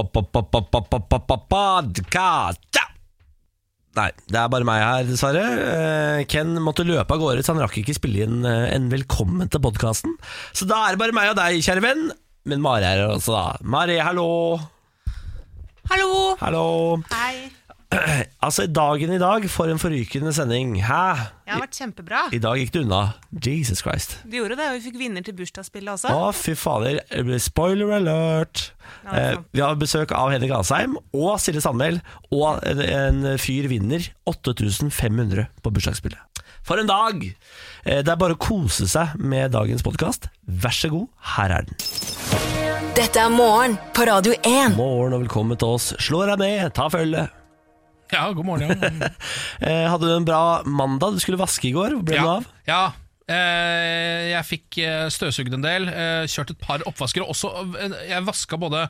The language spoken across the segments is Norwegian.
Podkast! Nei, det er bare meg her, dessverre. Eh, Ken måtte løpe av gårde, så han rakk ikke spille inn eh, en velkommen til podkasten. Så da er det bare meg og deg, kjære venn. Men Mari er her også, da. Mari, hallo. Hallo! Hallo. Hei. Altså, dagen i dag, for en forrykende sending. Hæ? Det har vært kjempebra. I dag gikk det unna. Jesus Christ. Du gjorde det, og vi fikk vinner til bursdagsspillet også. Å, fy fader. Spoiler alert. Ja, det er Eh, sant. vi har besøk av Henrik Asheim og Silje Sandmæl. Og en, en fyr vinner 8500 på bursdagsspillet. For en dag! Eh, det er bare å kose seg med dagens podkast. Vær så god, her er den. Dette er morgen på Radio 1. Morgen og velkommen til oss. Slå deg ned, ta følge. Ja, god morgen. Ja. Eh, hadde du en bra mandag? Du skulle vaske i går. Hvor ble ja. den av? ja. Eh, Jeg fikk eh, støvsugd en del, eh, kjørt et par oppvasker. og Også, eh, jeg vaska både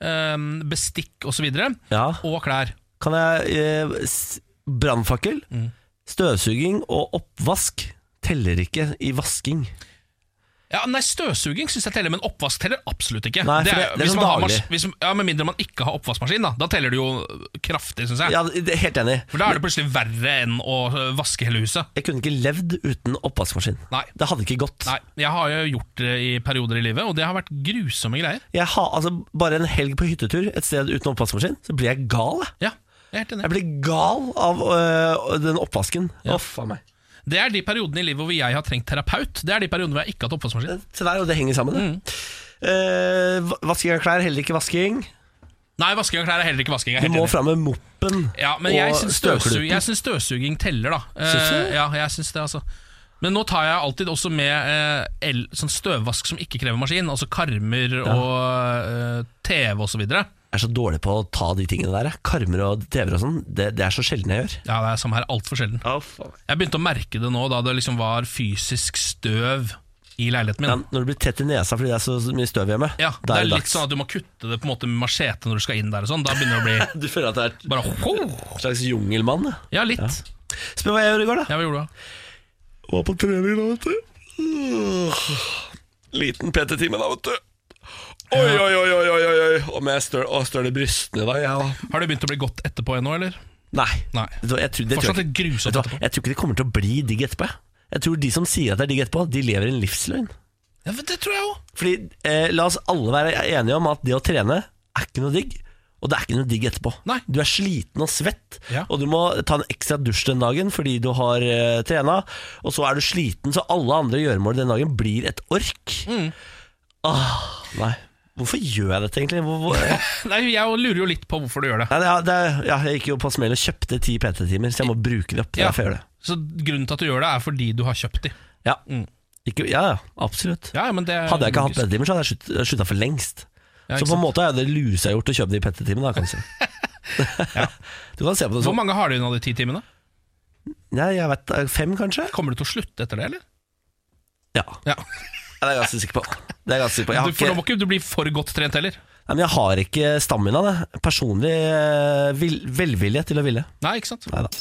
eh, bestikk og så videre, Ja. og klær. Kan jeg eh, s- Brannfakkel, støvsuging og oppvask teller ikke i vasking. Ja, nei, Støvsuging syns jeg teller, men oppvask teller absolutt ikke. Nei, for det- det er- er hvis sånn man har daglig. mas- hvis, ja, Med mindre man ikke har oppvaskmaskin, da. Da teller det jo kraftig, syns jeg. Ja, det- Helt enig. For da er det plutselig verre enn å eh, vaske hele huset. Jeg kunne ikke levd uten oppvaskmaskin. Nei. Det hadde ikke gått. Nei, Jeg har jo gjort det i perioder i livet, og det har vært grusomme greier. Jeg har, altså, bare en helg på hyttetur et sted uten oppvaskmaskin, så blir jeg gal. Jeg, Ja, jeg er helt enig. jeg blir gal av øh, den oppvasken. Å, faen meg. Det er de periodene i livet hvor jeg har trengt terapeut. Det er de periodene hvor jeg ikke har hatt oppvaskmaskin. Se der, og det henger sammen. det. Mm. Eh, va- vasking av klær, heller ikke vasking. Nei, vasking av klær er heller ikke vasking. Jeg er Du helt må enig. fram med moppen Ja, men jeg og syns støvsug, støvkluten. jeg syns støvsuging teller, da. Eh, Syns du det? ja, jeg syns det, altså. Men nå tar jeg alltid også med eh, el, sånn støvvask som ikke krever maskin. Altså karmer og eh, TV osv. Ja, Jeg er så dårlig på å ta de tingene der. jeg. Karmer og TV-er og sånn, det, det er så sjelden jeg gjør. det er som her altfor sjelden. Jeg begynte å merke det nå, da det liksom var fysisk støv i leiligheten Ja, min. når du blir tett i nesa fordi det er så så mye støv hjemme, Ja, da Det er litt dags. sånn at du må kutte det på en måte med machete når du skal inn der og sånn. Da begynner det å bli Du føler at det er bare en slags jungelmann. jeg. Ja, litt. Spør hva jeg gjorde i går, da. Ja, hva gjorde du? da? Var på trening da, vet du. Liten PT-time da, vet du. Oi, oi, oi, oi, oi, oi, oi. Og med støl, å, støl i brystene da, jeg da. Har du begynt å bli godt etterpå ennå, eller? Nei. Nei. Vet du hva, Jeg tror, det tror Fortsatt jeg, litt grusomt vet du hva, etterpå. jeg tror ikke det kommer til å bli digg etterpå. jeg. Jeg tror de som sier at det er digg etterpå, de lever i en livsløgn. Ja, men det tror jeg òg. Fordi, eh, la oss alle være enige om at det å trene er ikke noe digg. Og det er ikke noe digg etterpå. Nei. Du er sliten og svett, Ja. og du må ta en ekstra dusj den dagen fordi du har eh, trena. Og så er du sliten, så alle andre gjøremål den dagen blir et ork. Mm. Åh, nei. Hvorfor gjør jeg dette, egentlig? Hvor, hvor? Nei, Nei, Jeg lurer jo litt på hvorfor du gjør det. det, er- det, er- ja, jeg gikk jo på smell og kjøpte ti PT-timer, så jeg må bruke det opp. Det er Ja. derfor jeg gjør det. Så Grunnen til at du gjør det, er fordi du har kjøpt de. Ja. Mm. Ikke, ja, ja, absolutt. Ja, ja, men det er Hadde jeg ikke hatt logisk. PT-timer, så hadde jeg slutt- slutta for lengst. Ja, så ikke på en sant? måte er det lusa gjort å kjøpe de PT-timene, da, kan du si. Du kan se på det Hvor sånn. mange har du igjen av de ti timene? Nei, jeg vet, eh, fem, kanskje? Kommer du til å slutte etter det, eller? Ja. Ja. Det er jeg ganske sikker på. Det er jeg ganske sikker på. Jeg har Du, for nå ikke, må ikke du bli for godt trent heller. nei, men jeg har ikke stamina, det. Personlig eh, vil, velvilje til å ville. Nei, ikke sant? Neida.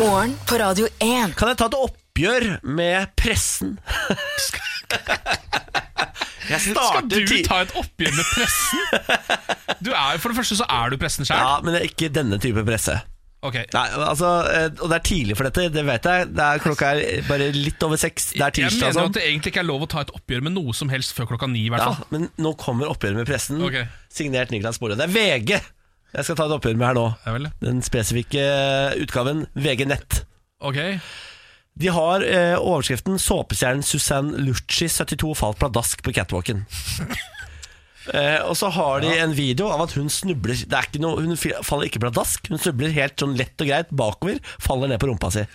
Morgen på Radio 1. Kan jeg ta et oppgjør med pressen? jeg Skal starter du ti- ta et oppgjør med pressen? Du er jo, For det første så er du pressen sjøl. Ja, men det er ikke denne type presse. Ok. Nei, altså, eh, Og det er tidlig for dette, det vet jeg. Det er, klokka er bare litt over seks. Det er Jeg tirsdag. og mener jo sånn. at det egentlig ikke er lov å ta et oppgjør med noe som helst før klokka ni. i hvert Ja, fall men nå kommer oppgjøret med pressen. Ok. Signert Niklas Borre. Det er VG jeg skal ta et oppgjør med her nå. Ja vel. Den spesifikke eh, utgaven VG Nett. Ok De har eh, overskriften 'Såpestjernen Susanne Lucci 72 falt pladask på catwalken'. eh, og så har de en video av at hun snubler. Det er ikke noe, hun fi- faller ikke pladask. Hun snubler helt sånn lett og greit bakover, faller ned på rumpa si.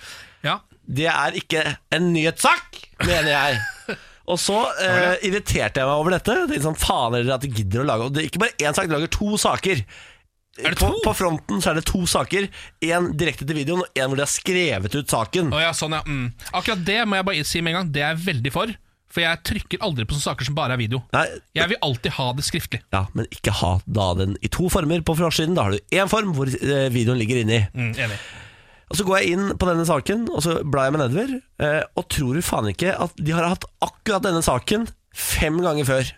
Ja Det er ikke en nyhetssak, mener jeg. Og så eh, irriterte jeg meg over dette. Det er sånn, faen er dere at de gidder å lage Og det er ikke bare én sak, de lager to saker. det På, to? på fronten så er det to saker. Én direkte til videoen, og én hvor de har skrevet ut saken. Å ja, sånn ja. Mm. Akkurat det må jeg bare si med en gang, det er jeg veldig for. For jeg trykker aldri på sånne saker som bare er video. Nei, Jeg vil alltid ha det skriftlig. ja, Men ikke ha da den i to former på forsiden. Da har du én form hvor eh, videoen ligger inni. Mm, enig. Og så går jeg inn på denne saken, og så blar jeg meg nedover. eh, Og tror du faen ikke at de har hatt akkurat denne saken fem ganger før.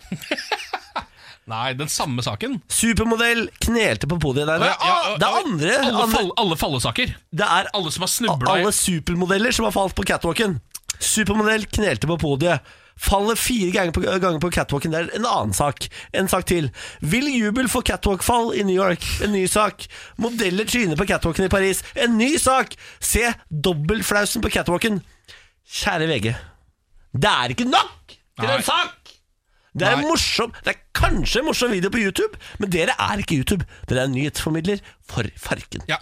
Nei, den samme saken. Supermodell knelte på podiet der. Å ja, ja, Ah, ja, det er ja. andre, Alle, andre fall, alle fallesaker. Det er Alle som har A- snubla Alle supermodeller som har falt på catwalken. Supermodell knelte på podiet. Faller fire ganger på, ganger på catwalken. Det er en annen sak. En sak til. Vill jubel for catwalkfall i New York. En ny sak. Modeller tryner på catwalken i Paris. En ny sak! Se dobbeltflausen på catwalken. Kjære VG. Det er ikke nok til Nei. en sak! Det er, en Nei. morsom, det er kanskje en morsom video på YouTube, men dere er ikke YouTube. Dere er en nyhetsformidler for farken. Ja.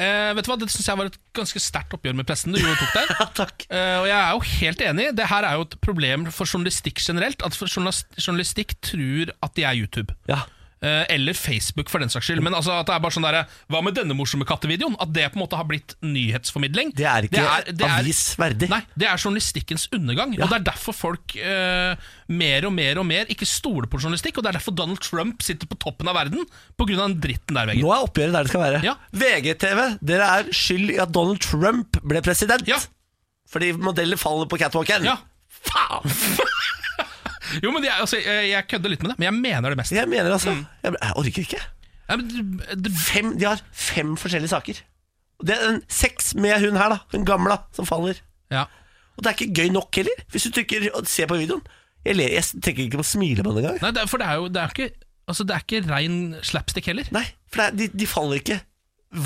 Eh, vet du hva, Det syns jeg var et ganske sterkt oppgjør med pressen du jo tok der. Takk. Eh, og jeg er jo helt enig. Det her er jo et problem for journalistikk generelt. At for journalis- journalistikk tror at de er YouTube. Ja. Eh, eller Facebook, for den saks skyld. Men altså at det er bare sånn derre Hva med denne morsomme kattevideoen? At det på en måte har blitt nyhetsformidling. Det er ikke det er- avisverdig. Nei, det er journalistikkens undergang. Og det er derfor folk eh, mer og mer og mer ikke stoler på journalistikk. Og det er derfor Donald Trump sitter på toppen av verden pga. den dritten der, Veggen. Nå er oppgjøret der det skal være. Ja. VGTV, dere er skyld i at Donald Trump ble president. Ja. Fordi modeller faller på catwalken. Ja. Faen! Jo, men jeg, altså, jeg, jeg kødder litt med det, men jeg mener det mest. Jeg mener altså Mm. jeg, jeg orker ikke. Ja, men det- det- Fem, de har fem forskjellige saker. Og Det er en, seks med hun her, da. Hun gamle da, som faller. ja. Og det er ikke gøy nok heller, hvis du trykker og ser på videoen. Jeg, ler, jeg tenker ikke på smilebånd engang. Nei, det, er- for det er jo det er ikke Altså, det er ikke rein slapstick heller. Nei, for det er, de, de faller ikke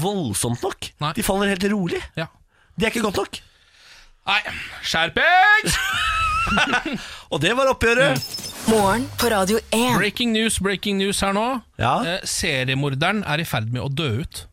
voldsomt nok. Nei. De faller helt rolig. Ja. Det er ikke godt nok. Nei, skjerpings! Og det var oppgjøret. Mm. Morgen på Radio 1. Breaking news, breaking news her nå. Ja. Eh, seriemorderen er i ferd med å dø ut.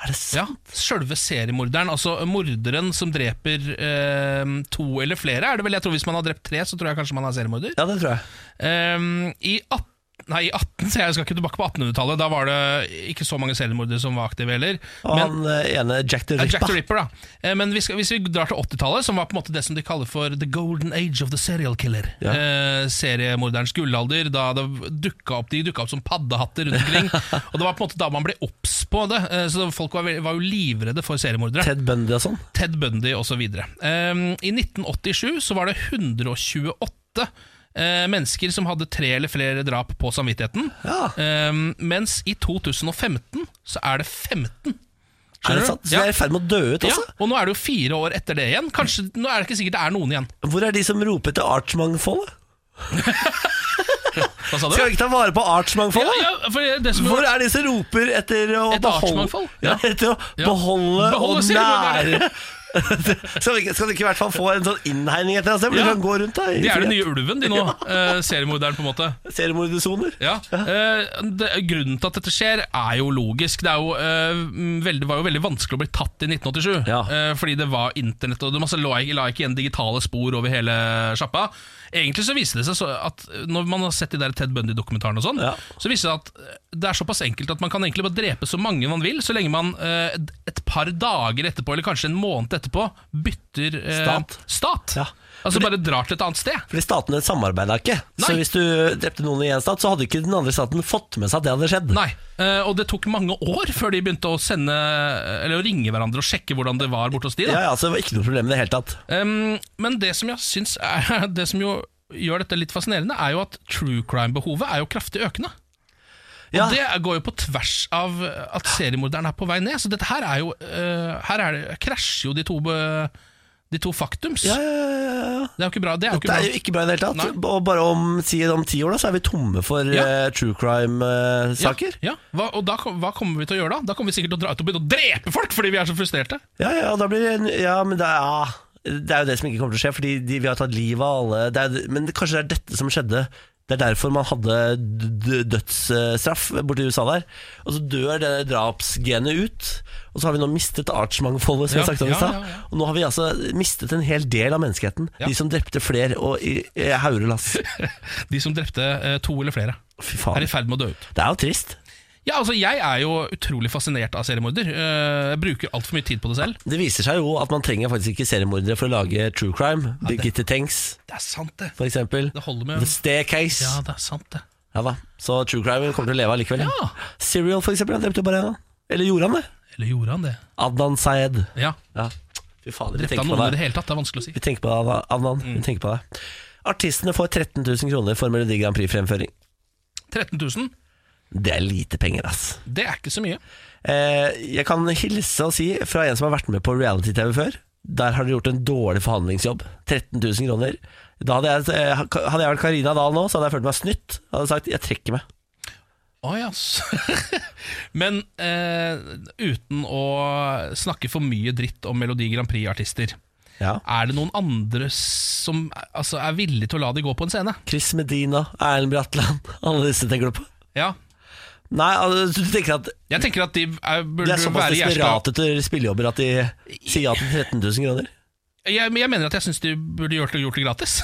Er det sant? Ja, Sjølve seriemorderen, altså morderen som dreper eh, to eller flere, er det vel? Jeg tror Hvis man har drept tre, så tror jeg kanskje man er seriemorder. ja, det tror jeg. Ehm, I 18... Nei, i 18, så jeg skal ikke tilbake på 1800-tallet. Da var det ikke så mange seriemordere som var aktive heller. Og Men, han eh, ene Jack the ja, Jack the Ripper. Ripper, da. Eh, Men vi skal, hvis vi drar til 80-tallet, som var på en måte det som de kaller for the golden age of the serial killer. Ja. Eh, seriemorderens gullalder, da det dukket opp, de dukka opp som paddehatter rundt omkring. og det var på en måte da man ble obs på det. Eh, så folk var, vel- var jo livredde for seriemordere. Ted Bundy og sånn. Ted Bundy osv. Um, I 1987 så var det 128 eh, mennesker som hadde tre eller flere drap på samvittigheten. Ja. Ehm, mens i 2015 så er det Er 15. du? det sant? Så Ja. vi er i ferd med å dø ut, Ja, altså? og nå er det jo fire år etter det igjen. Kanskje, nå er det ikke sikkert det er noen igjen. Hvor er de som roper til artsmangfoldet? Hva sa du? Skal vi ikke ta vare på ja, artsmangfoldet? ja, for det som Hvor er de som roper etter å Etter beholde artsmangfold? Ja. etter å Ja. beholde, Beholde, og sier du, nære skal, vi ikke, skal du ikke i hvert fall få en sånn innhegning etter deg? Ja. Du Ja. kan sånn gå rundt da i De er den frihet. nye ulven, de nå. eh, seriemorderen, på en måte. seriemordersoner. Ja, eh, det, Grunnen til at dette skjer er jo logisk. Det er jo, eh, mm, veldig, var jo veldig vanskelig å bli tatt i 1987. Ja. eh, fordi det var internett, og det masse la, la ikke igjen digitale spor over hele sjappa. Egentlig så viste det seg så at eh, Når man har sett de der Ted Bundy-dokumentarene, og sånn Ja. Så viser det seg at eh, det er såpass enkelt at man kan egentlig bare drepe så mange man vil, så lenge man eh, et par dager etterpå, eller kanskje en måned etterpå, bytter eh, Stat. stat. Ja. Altså bare drar til et annet sted. Fordi statene samarbeida ikke. Så Nei. hvis du drepte noen i én stat, så hadde ikke den andre staten fått med seg at det hadde skjedd. Nei, eh, og det tok mange år før de begynte å sende Eller å ringe hverandre og sjekke hvordan det var borte hos de. Ja, Da. ja, så det var ikke noe problem i det hele tatt. Um, men det som jeg syns er Det som jo gjør dette litt fascinerende, er jo at true crime-behovet er jo kraftig økende. Og Ja. det går jo på tvers av at seriemorderen er på vei ned. Så dette her er jo eh, Her er det, krasjer jo de to, be- de to faktums. Ja, ja, ja, ja, ja. Det er jo ikke bra. Det er jo Det ikke er bra. jo ikke bra i det hele tatt. Nei. Og bare om, si, om ti år da, så er vi tomme for Ja. eh, true crime-saker. Ja, ja. Hva, og da, kom- hva kommer vi til å gjøre da? Da kommer vi sikkert til å dra ut og begynne å drepe folk fordi vi er så frustrerte. ja. ja, og da blir det en- Ja, men det er, ja, det er jo det som ikke kommer til å skje, fordi de, vi har tatt livet av alle. Det er, men det, kanskje det er dette som skjedde Det er derfor man hadde d- d- dødsstraff borti USA der. Og så dør det drapsgenet ut. Og så har vi nå mistet artsmangfoldet, som Ja, jeg snakket om ja, i stad. ja, ja. Og nå har vi altså mistet en hel del av menneskeheten. Ja. De som drepte flere og i, i haurelass. De som drepte eh, to eller flere, Fy er faen. i ferd med å dø ut. Det er jo trist. Ja, altså Jeg er jo utrolig fascinert av seriemorder. Eh, Jeg bruker altfor mye tid på det selv. Det viser seg jo at man trenger faktisk ikke seriemordere for å lage true crime. Birgitte Tengs, Det er sant, det. for eksempel. Det holder med The Staircase. Ja, Ja. det er sant, det. da. Så true crime kommer til å leve allikevel. Ja. Serial, for eksempel. Han drepte jo bare en. da. Eller gjorde han det? Eller gjorde han det? Adnan Sayed. Ja. Ja. Fy fader, vi Drepte han tenker på noen i Mm. det deg. hele tatt? Det er vanskelig å si. Vi tenker på deg, Adnan. Adnan. Vi tenker på deg. Artistene får 13 000 kroner for Melodi Grand Prix-fremføring. 13 000, Det er lite penger, ass. det er ikke så mye. Eh, jeg kan hilse og si fra en som har vært med på reality-TV før. Der har dere gjort en dårlig forhandlingsjobb. 13 000 kroner. Da hadde, jeg, eh, hadde jeg vært Karina Dahl nå, så hadde jeg følt meg snytt. Jeg hadde sagt 'jeg trekker meg'. Å ja. s- Men eh, uten å snakke for mye dritt om Melodi Grand Prix-artister, Ja. er det noen andre som altså, er villige til å la de gå på en scene? Chris Medina, Erlend Bratland, alle disse tenker du på. Ja. Nei, altså, du tenker at Jeg tenker at de er, de burde er såpass være gjersta desperate etter spillejobber at de sier ja til 13 000 kroner? jeg, jeg mener at jeg syns de burde gjort, det- gjort det gratis.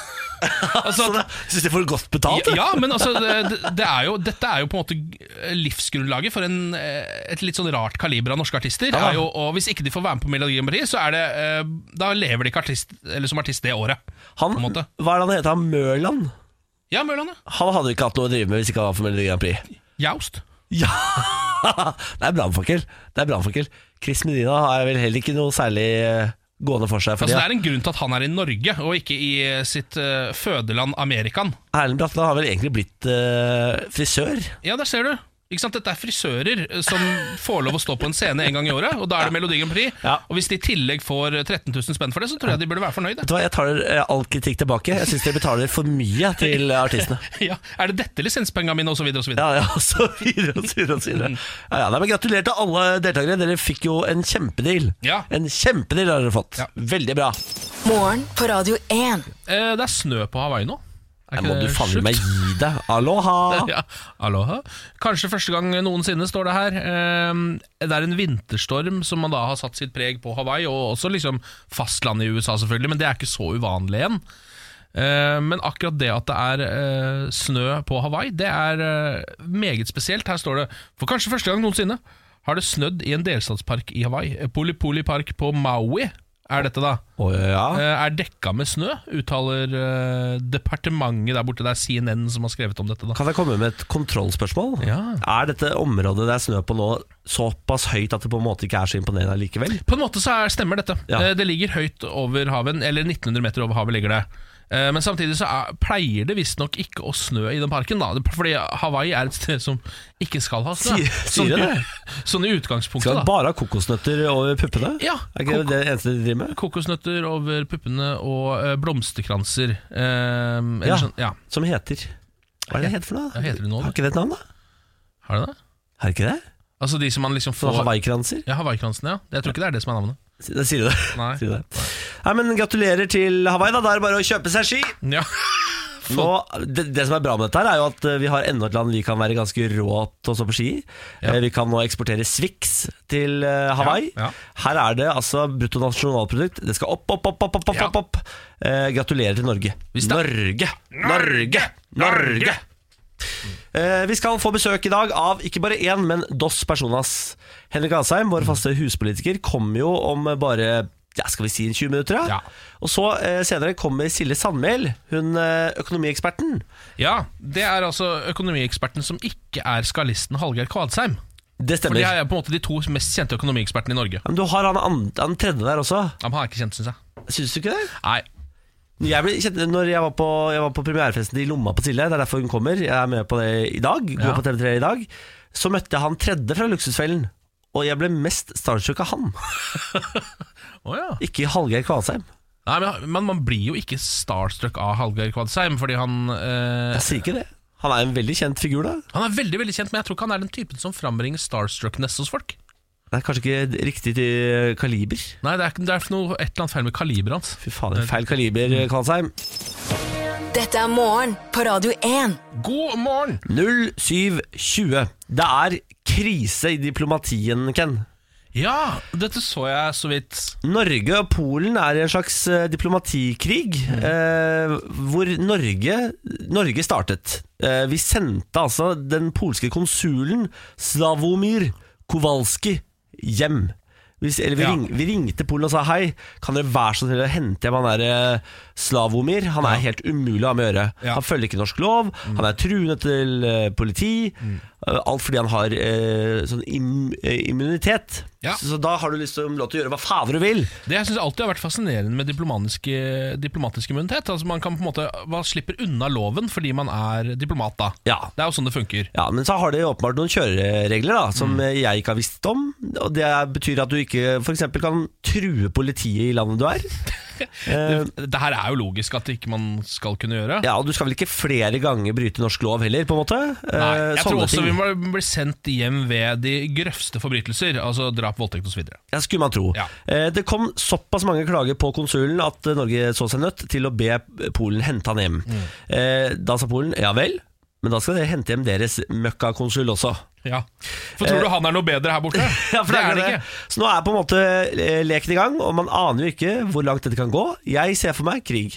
altså, Så da Syns de får godt betalt? ja, men altså, det, det er jo, dette er jo på en måte livsgrunnlaget for en, eh, et litt sånn rart kaliber av norske artister. Ja. Er jo, og Hvis ikke de får være med på Melodi Grand Prix, så er det, eh, da lever de ikke artist, eller som artist det året. han, på en måte. hva er det han heter? Han Mørland? Ja, Mørland, ja. Han hadde jo ikke hatt noe å drive med hvis ikke han var for Melodi Grand Prix. Jaust. Ja! Det er brannfakkel. Det er brannfakkel. Chris Medina har vel heller ikke noe særlig eh, gående for seg. Fordi Altså, det er en grunn til at han er i Norge, og ikke i eh, sitt eh, fødeland Amerikan. Erlend Bratland har vel egentlig blitt eh, frisør. Ja, der ser du. Ikke sant? Dette er frisører eh, som får lov å stå på en scene en gang i året, og da er det Melodi Grand Prix. Ja. Og hvis de i tillegg får eh, 13 000 spenn for det, så tror jeg de burde være fornøyde. Vet du hva, Jeg tar eh, all kritikk tilbake. Jeg syns dere betaler for mye til eh, artistene. Ja. Er det dette lisenspengene mine, og så videre og så videre? Ja, ja, og så videre og så videre. Og så videre. Mm. Ja, ja, nei, men gratulerer til alle deltakere. Dere fikk jo en kjempedeal. Ja. En kjempedeal har dere fått. Ja. Veldig bra. Morgen på Radio 1. Eh, det er snø på Hawaii nå. Er Jeg må du det faen Eh, sjukt? meg gi deg. Aloha! Ja. Aloha. Kanskje første gang noensinne, står det her. Eh, det er en vinterstorm som man da har satt sitt preg på Hawaii, og også liksom fastlandet i USA, selvfølgelig, men det er ikke så uvanlig igjen. Eh, Men akkurat det at det er eh, snø på Hawaii, det er eh, meget spesielt. Her står det For kanskje første gang noensinne har det snødd i en delstatspark i Hawaii. Eh, Poli Poli Park på Maui er dette, da. Å, ja. Eh, er dekka med snø, uttaler eh, departementet der borte. Det er CNN som har skrevet om dette. Da. Kan jeg komme med et kontrollspørsmål? Ja. Er dette området det er snø på nå såpass høyt at det på en måte ikke er så imponerende likevel? På en måte så er, stemmer dette. Ja. Eh, det ligger høyt over haven, eller 1900 meter over havet ligger det. Eh, men samtidig så er, pleier det visstnok ikke å snø i den parken, da. Fordi Hawaii er et sted som ikke skal ha snø. Sier- sier det det? sånn i utgangspunktet, Skal da. det bare ha kokosnøtter over puppene? Ja, Er ikke det det eneste de driver med? Kokosnøtter over puppene og eh, blomsterkranser. Eh, eller Ja. Sånn, ja. Som heter Hva er det det heter for noe? Hva heter det nå, Har da? ikke det et navn, da? Har det det? Har ikke det? Altså de som man liksom For får Hawaii-kranser? Ja, Hawaii-kransen, ja. Jeg tror ikke det er det som er navnet. Da Sier du det? Nei. Sier du det? Nei, men gratulerer til Hawaii, da. Da er det bare å kjøpe seg ski. Ja. Nå, det, det som er bra med dette, her er jo at eh, vi har enda et land vi kan være ganske rå til å stå på ski i. Eh, Vi kan nå eksportere Swix til eh, Hawaii. Ja, ja. Her er det altså bruttonasjonalprodukt. Det skal opp, opp, opp, opp, opp, opp, Ja. opp, opp. Eh, gratulerer til Norge. Hvis det- Norge! Norge! Norge! Eh, vi skal få besøk i dag av ikke bare én, men dos personas. Henrik Asheim, vår faste huspolitiker, kommer jo om bare ja, skal vi si 20 minutter? Ja. Og så eh, senere kommer Silje Sandmæl, hun eh, økonomieksperten. ja, det er altså økonomieksperten som ikke er skalisten Hallgeir Kvadsheim. Det For det stemmer. er på en måte de to mest kjente økonomiekspertene i Norge. Ja, Men du har han, an- han tredje der også. Ja, men han er ikke kjent, syns jeg. Syns du ikke det? Nei, Jeg ble kjent, når jeg var, på, jeg var på premierefesten i Lomma på Silje, det er derfor hun kommer, jeg er med på det i dag, går Ja. på TV3 i dag, så møtte jeg han tredje fra Luksusfellen. Og jeg ble mest starstruck av han, Å, ja. ikke Hallgeir Kvalsheim. Nei men, men man blir jo ikke starstruck av Hallgeir Kvadsheim, fordi han eh, Jeg sier ikke det. Han er en veldig kjent figur, da. Han er veldig veldig kjent, men jeg tror ikke han er den typen som frambringer starstruckness hos folk. Det er kanskje ikke riktig til kaliber. Nei, det er, Mm. ikke- det er noe, et eller annet feil med kaliberet hans. Fy fader, feil kaliber, Kvalsheim. Dette er morgen på Radio 1. God morgen! 0720. Det er krise i diplomatien, Ken. Ja, dette så jeg så vidt. Norge og Polen er i en slags eh, diplomatikrig, eh, hvor Norge, Norge startet. Eh, vi sendte altså den polske konsulen Slavomir Kowalski hjem. Vi, s- eller vi, Ja. ring, vi ringte Polen og sa hei, kan dere være så snill å hente hjem han der eh, Slavomir? Han er helt umulig å ha med å gjøre. Ja. Han følger ikke norsk lov, han er truende til eh, politi. Mm. eh, Alt fordi han har eh, sånn im, eh, immunitet. Ja. Så, så da har du lyst til, lov til å gjøre hva fader du vil. Det jeg synes alltid har vært fascinerende med diplomatisk, diplomatisk immunitet. Altså Man kan på en måte, man slipper unna loven fordi man er diplomat, da. Ja. Det er jo sånn det funker. Ja, Men så har de åpenbart noen kjøreregler da som Mm. eh, jeg ikke har visst om. Og Det betyr at du ikke for eksempel kan true politiet i landet du er. Eh, Det her er jo logisk at ikke man skal kunne gjøre. ja, Og du skal vel ikke flere ganger bryte norsk lov heller, på en måte? Eh, Nei, jeg tror sånne også ting. vi må bli sendt hjem ved de grøvste forbrytelser. Altså drap, voldtekt osv. Ja, skulle man tro. Ja. Eh, Det kom såpass mange klager på konsulen at eh, Norge så seg nødt til å be Polen hente han hjem. Mm. Eh, Da sa Polen ja vel, men da skal dere hente hjem deres møkkakonsul også. Ja. For tror du han er noe bedre her borte? Eh, Ja, for det er det. ikke. Så nå er på en måte eh, leken i gang, og man aner jo ikke hvor langt dette kan gå. Jeg ser for meg krig.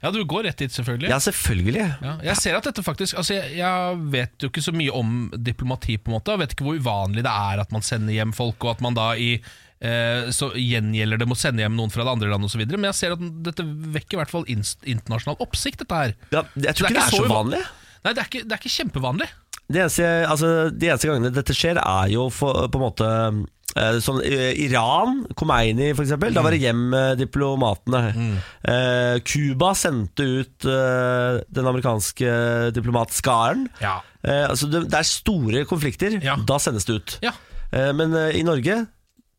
Ja, du går rett dit, selvfølgelig. Ja, selvfølgelig. Ja, jeg ser at dette faktisk altså jeg, jeg vet jo ikke så mye om diplomati, på en måte. Jeg vet ikke hvor uvanlig det er at man sender hjem folk, og at man da i eh, så gjengjelder det med å sende hjem noen fra det andre landet osv. Men jeg ser at dette vekker i hvert fall inst- internasjonal oppsikt, dette her. Ja, jeg tror Det ikke det er ikke er så så uvan- vanlig. Nei, det er ikke, det er ikke kjempevanlig. De eneste, altså, de eneste gangene dette skjer, er jo for, på en måte eh, Sånn eh, Iran, Khomeini f.eks. Da var det Mm. hjem med diplomatene. Eh, Cuba sendte ut eh, den amerikanske diplomatskaren. Ja. Eh, altså, det, det er store konflikter. Ja. Da sendes det ut. Ja. Eh, men eh, i Norge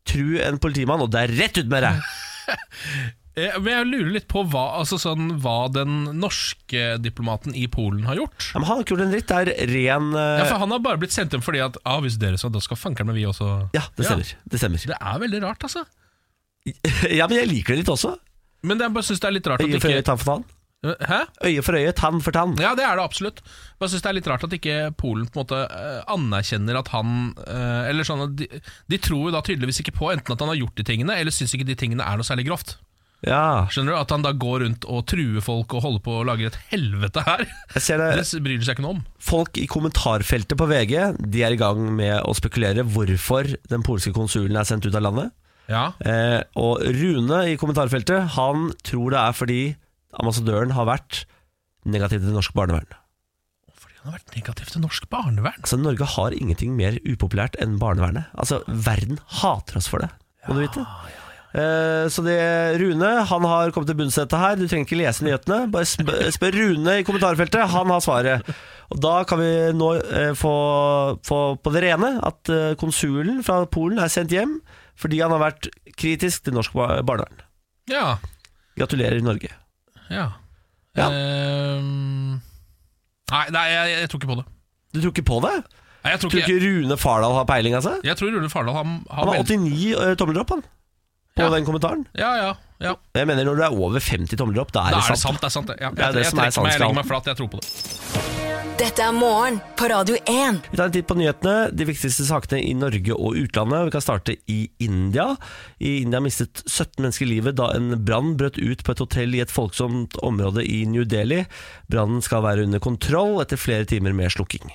Tru en politimann, og det er rett ut med deg! Mm. Eh, Men jeg lurer litt på hva, altså sånn, hva den norske diplomaten i Polen har gjort. Ja, men han har ikke gjort en dritt. Det er ren eh, Ja, for Han har bare blitt sendt hjem fordi at ah, hvis dere skal, da skal fankeren med vi også. ja, det stemmer. Det stemmer. Det er veldig rart, altså. Ja, men jeg liker det litt også. Men jeg bare synes det er litt rart at Øye for øye, ikke Eh, tann for tann. Hæ? Øye for øye, tann for tann. Ja, det er det absolutt. Men jeg synes det er litt rart at ikke Polen på en måte eh, anerkjenner at han eh, Eller sånn at de, de tror jo da tydeligvis ikke på enten at han har gjort de tingene, eller syns ikke de tingene er noe særlig grovt. Ja, Skjønner du? At han da går rundt og truer folk og holder på å lage et helvete her. jeg ser Det det. bryr de seg ikke noe om. Folk i kommentarfeltet på VG De er i gang med å spekulere hvorfor den polske konsulen er sendt ut av landet. Ja, Eh, og Rune i kommentarfeltet Han tror det er fordi ambassadøren har vært negativ til norsk barnevern. fordi han har vært negativ til norsk barnevern. Altså Norge har ingenting mer upopulært enn barnevernet. Altså Verden hater oss for det, må du vite. Eh, Så det Rune han har kommet til bunns i dette her. Du trenger ikke lese nyhetene. Bare sp- eh, spør Rune i kommentarfeltet. Han har svaret. Og Da kan vi nå eh, få, få på det rene at eh, konsulen fra Polen er sendt hjem fordi han har vært kritisk til norsk bar- barnevern. Ja, Gratulerer, Norge. ja. Ja. Ehm, nei, nei jeg, jeg tror ikke på det. Du tror ikke på det? Nei, jeg, tror Tror ikke, jeg, ikke Rune Fardal har peiling, altså? tror Rune Fardal har, har, Han har ment- 89 tomler opp, han. På Ja. den kommentaren. Ja, ja, ja. Jeg mener Når du er over 50 tomler opp, da er Da det er det sant. sant. Det er sant. det. Ja, jeg, Det er det jeg, som er trekker meg, jeg legger sannskalen. meg flat, jeg tror på det. Dette er morgen på Radio 1. Vi tar en titt på nyhetene. De viktigste sakene i Norge og utlandet. Vi kan starte i India. I India mistet 17 mennesker livet da en brann brøt ut på et hotell i et folksomt område i New Delhi. Brannen skal være under kontroll etter flere timer med slukking.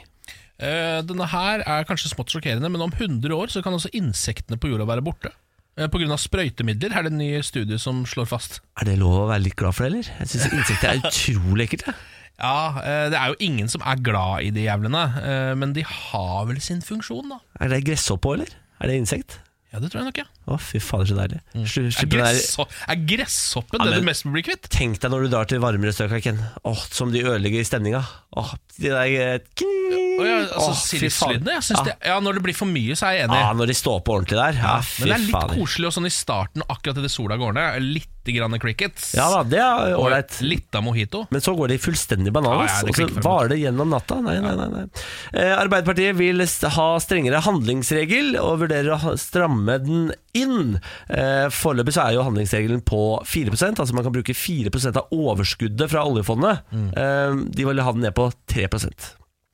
Eh, denne her er kanskje smått sjokkerende, men om 100 år så kan også insektene på jorda være borte. Eh, på grunn av sprøytemidler, er det en ny studie som slår fast. Er det lov å være litt glad for det, eller? Jeg syns insekter er utrolig ekkelt. jeg. Ja, eh, det er jo ingen som er glad i de jævlene, eh, men de har vel sin funksjon, da. Er det gresshoppe òg, eller? Er det insekt? Ja, det tror jeg nok, ja. Å, fy fader, så deilig. Sli- Mm. Er, Slipp den der gressho er gresshoppen Ja, det men- du mest vil bli kvitt? Tenk deg når du drar til varmere strøk, Ken. Åh, som de ødelegger stemninga. Åh, de der eh, kling, Å, ja, Åh, altså, fy faen. Sirslydene? Jeg Ja. synes det, ja, når det blir for mye, så er jeg enig. Ja, når de står på ordentlig der. Ja, fy Men det er litt fader. koselig og sånn i starten, akkurat idet sola går ned. Litt grann crickets. Ja da, det er og ålreit. litt av mojito. Men så går de fullstendig bananas, Ja, ja, det og så klikker for varer det gjennom natta. Nei, nei, nei, nei. Eh, Arbeiderpartiet vil s- ha strengere handlingsregel, og vurderer å ha- stramme den inn. Eh, Foreløpig så er jo handlingsregelen på 4 altså man kan bruke 4 av overskuddet fra oljefondet. Eh, De vil ha den ned på 3 Mm.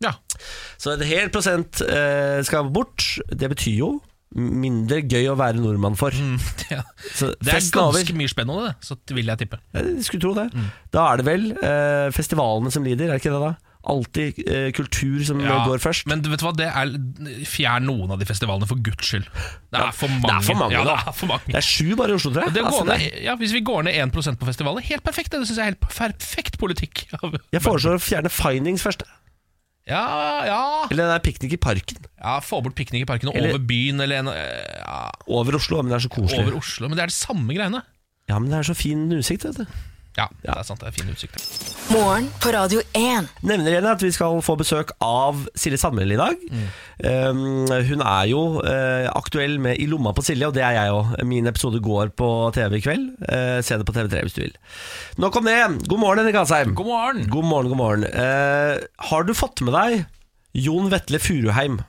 Ja. så en hel prosent eh, skal bort. Det betyr jo mindre gøy å være nordmann for. Det, Så Mm. det er festen er over. ganske mye spennende, det, så vil jeg tippe. Ja, Jeg skulle tro det. Mm. Da er det vel eh, festivalene som lider, er det ikke det da? Alltid eh, kultur som Ja, går først. Men du vet hva, det er fjern noen av de festivalene, for guds skyld. Det er for mange. det er for mange, ja, da. Det er for mange. det er sju bare i Oslo, tror jeg. Det å Altså, gå det er- ned, ja, hvis vi går ned 1 på festivalet, helt perfekt. Det, det syns jeg er helt perfekt politikk. jeg foreslår å fjerne Findings først. Ja, ja. Eller det er piknik i parken. ja Få bort piknik i parken og Eller- over byen, eller en, ja, Over Oslo, men det er så koselig. over Oslo. Men det er det samme greiene. Ja, men det er så fin utsikt, vet du. Ja, det er sant. Det er fin utsikt. da. Morgen på Radio 1. Nevner igjen at vi skal få besøk av Silje Sandmæl i dag. Mm. Um, hun er jo eh, aktuell med I lomma på Silje, og det er jeg òg. Min episode går på TV i kveld. Eh, se det på TV3 hvis du vil. Nok om det. God morgen, Henrik Asheim. God morgen! God morgen, god morgen. Eh, har du fått med deg Jon Vetle Furuheim?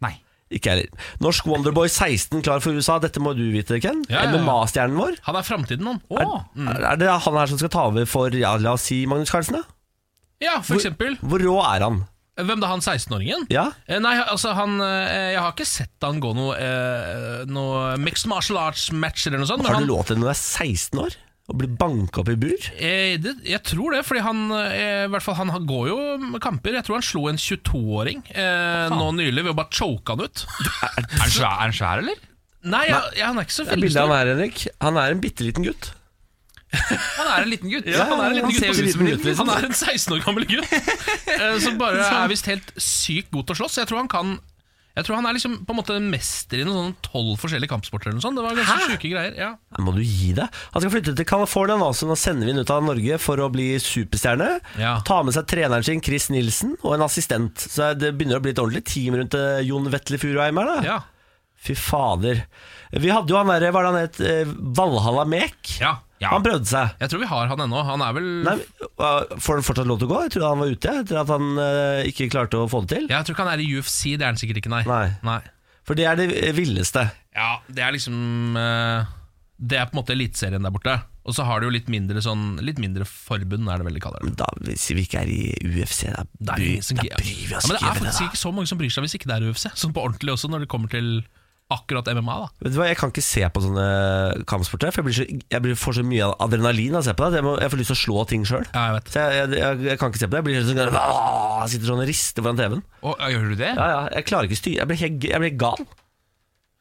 Nei. Ikke jeg heller. Norsk Wonderboy 16 klar for USA. Dette må du vite, Ken. Ja, ja, ja. MMA-stjernen vår. Han er framtiden, han. Å, mm. Er- Er det han her som skal ta over for ja, la oss si Magnus Carlsen? da? Ja, for eksempel. Hvor rå er han? Hvem da, han 16-åringen? Ja? Eh, Nei, altså han eh, Jeg har ikke sett han gå noe, eh, noe mixed martial arts match eller noe sånt. men Har han, du lov til når du er 16 år å bli banka opp i bur? Eh, det, jeg tror det, fordi han eh, i hvert fall, han har- går jo med kamper. Jeg tror han slo en 22-åring eh, nå nylig ved å bare choke han ut. Er han svær, er han svær eller? Nei, jeg, jeg, han er ikke så Det er veldig bildet av stor. han her, Henrik. Han er en bitte liten gutt. Han er en liten gutt. Ja, han er en han liten gutt. ser på ut som en liten. liten Han er en 16 år gammel gutt eh, som bare er visst helt sykt god til å slåss. Jeg tror han kan jeg tror han er liksom på en måte mester i noen sånn tolv forskjellige kampsporter. eller noe sånt Det var ganske sjuke greier. Ja. Nei, Må du gi deg? Han skal flytte til California nå, så nå sender vi han ut av Norge for å bli superstjerne. Ja. Ta med seg treneren sin, Chris Nilsen, og en assistent. Så det begynner å bli et ordentlig team rundt eh, Jon Vetle Furuheim her, da. Ja. Fy fader. Vi hadde jo han derre, hva er det han het, eh, Valhalla Mek. Ja. Ja. Han prøvde seg. Jeg tror vi har han ennå. Han er vel Nei, øh, Får han fortsatt lov til å gå? Jeg trodde han var ute, etter at han eh, ikke klarte å få det til. Jeg tror ikke han er i UFC. Det er han sikkert ikke, nei. Nei. For det er det villeste. Ja, det er liksom eh, Det er på en måte eliteserien der borte. Og så har du jo litt mindre sånn Litt mindre forbund, er det vel de kaller det. Da, hvis vi ikke er i UFC, da, Det er, bry, ingen som- da bryr vi ja, oss men det ikke er om det. faktisk Da. ikke så mange som bryr seg hvis ikke det er UFC. Sånn på ordentlig også, når det kommer til akkurat MMA. da Vet du hva, Jeg kan ikke se på sånne kampsporter, for jeg, blir så, jeg blir, får så mye adrenalin av å se på det. at Jeg, må, jeg får lyst til å slå ting sjøl. Ja, jeg vet Så jeg, jeg, jeg, jeg kan ikke se på det. Jeg blir helt sånn, «Åh!» jeg sitter sånn og rister foran TV-en. Og, ja, gjør du det? Ja, ja, jeg klarer ikke styre. Jeg blir, helt- jeg blir gal.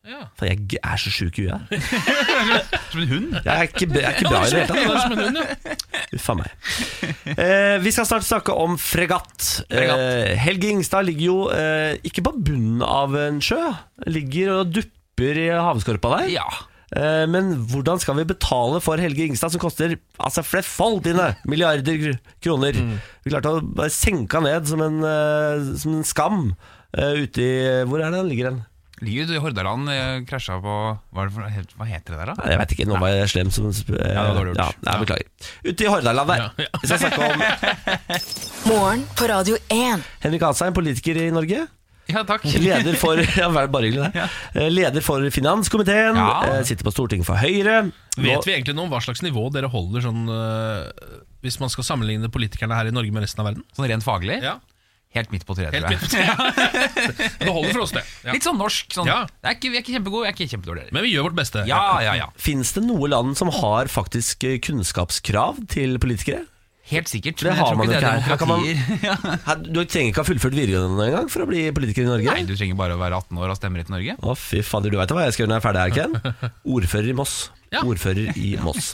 Ja. For jeg g- er så sjuk i huet. Som en hund? Jeg er ikke, jeg er ikke bra i det hele tatt. Det er som en hund, jo. Uff a meg. Eh, vi skal snart snakke om fregatt. Eh, Helge Ingstad ligger jo eh, ikke på bunnen av en sjø. Ligger og dupper i havskorpa der. Ja. Eh, men hvordan skal vi betale for Helge Ingstad, som koster altså flerfoldige milliarder kr- kroner? Vi klarte å bare senke han ned som en, eh, som en skam eh, ute i Hvor er det han ligger hen? Ligger ute i Hordaland, eh, krasja på hva, er det for, helt- hva heter det der, da? Nei, Jeg veit ikke, nå var jeg slem som sp- eh, Ja, det var dårlig gjort. ja, nei, Beklager. Ute i Hordaland der. Ja, ja. Vi skal snakke om Morgen på Radio 1. Henrik Asheim, politiker i Norge. Ja, takk. Leder for, ja, vær bare hyggelig, det. Eh, Leder for finanskomiteen, Ja. eh, sitter på Stortinget for Høyre. Nå- Vet vi egentlig noe om hva slags nivå dere holder sånn eh, Hvis man skal sammenligne politikerne her i Norge med resten av verden? Sånn rent faglig? Ja, Helt midt på treet, helt tror jeg. fint. Det holder for oss, det. Ja. Litt sånn norsk. Sånn. Ja. Jeg, er ikke, jeg er ikke kjempegod, jeg er ikke kjempedårlig. Men vi gjør vårt beste. Ja, ja, ja. Fins det noe land som har faktisk eh, kunnskapskrav til politikere? Helt sikkert. Det men jeg har tror man jo ikke det ikke her. er Her kan man- demokratier. Ja. Her, du trenger ikke ha fullført videregående engang for å bli politiker i Norge? Nei, du trenger bare å være 18 år og ha stemmerett i Norge. Å, fy fader, du veit hva jeg skal gjøre når jeg er ferdig her, Ken? Ordfører i Moss. Ordfører i Moss.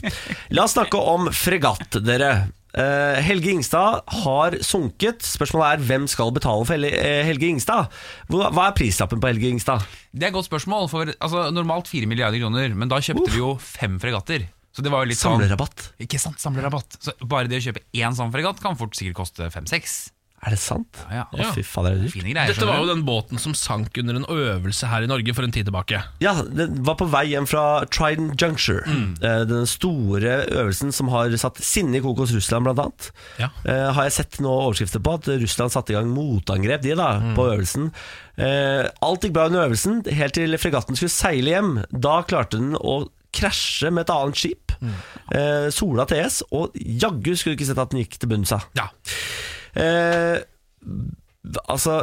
La oss snakke om fregatt, dere. Eh, Helge Ingstad har sunket. Spørsmålet er hvem skal betale for Hel- eh, Helge Ingstad? Hva hva er prislappen på Helge Ingstad? Det er et godt spørsmål, for altså, normalt 4 milliarder kroner, men da kjøpte vi jo fem fregatter. Så det var jo litt sånn Samlerabatt. Ikke sant, samlerabatt. Så bare det å kjøpe én sånn fregatt kan fort sikkert koste fem-seks. Er det sant? Ja, Å, ja. fy faen, det er dyrt. Fine greier. Dette var jo skjønner du. den båten som sank under en øvelse her i Norge for en tid tilbake. Ja, den var på vei hjem fra Trident Juncture. Mm. Eh, Den store øvelsen som har satt sinne i kokos Russland, blant annet. Ja. Eh, har jeg sett noen overskrifter på at Russland satte i gang motangrep de da, Mm. på øvelsen. Eh, alt gikk bra under øvelsen, helt til fregatten skulle seile hjem. Da klarte den å krasje med et annet skip, Mm. eh, Sola TS, og jaggu skulle du ikke sett at den gikk til bunns av. Ja. Eh, altså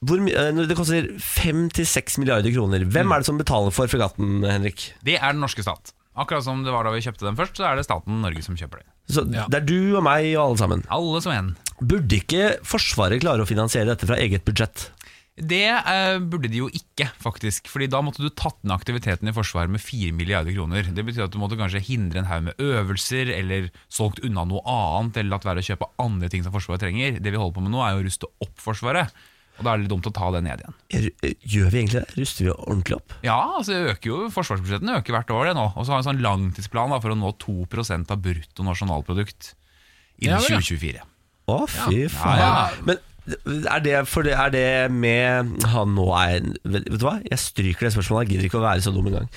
hvor, my- eh, når Det koster 5-6 milliarder kroner. Mm. Hvem er det som betaler for fregatten, Henrik? Det er den norske stat. Akkurat som det var da vi kjøpte den først, så er det staten Norge som kjøper det. Så Ja. Det er du og meg og alle sammen. Alle som en. Burde ikke Forsvaret klare å finansiere dette fra eget budsjett? Det eh, burde de jo ikke, faktisk. Fordi da måtte du tatt ned aktiviteten i Forsvaret med 4 milliarder kroner. Det betyr at du måtte kanskje hindre en haug med øvelser, eller solgt unna noe annet, eller latt være å kjøpe andre ting som Forsvaret trenger. Det vi holder på med nå, er jo å ruste opp Forsvaret. Og da er det litt dumt å ta det ned igjen. Gjør eh, gjør vi egentlig det? Ruster vi ordentlig opp? Ja, altså det øker jo, forsvarsbudsjettene øker hvert år det nå. Og så har vi en sånn langtidsplan da, for å nå 2 av brutto nasjonalprodukt innen Ja, vel, ja. 2024. Å, fy faen. Ja, Men er det, for det, er det med Han nå er en- Vet vet du hva? Jeg stryker det spørsmålet. Jeg gidder ikke å være så dum engang.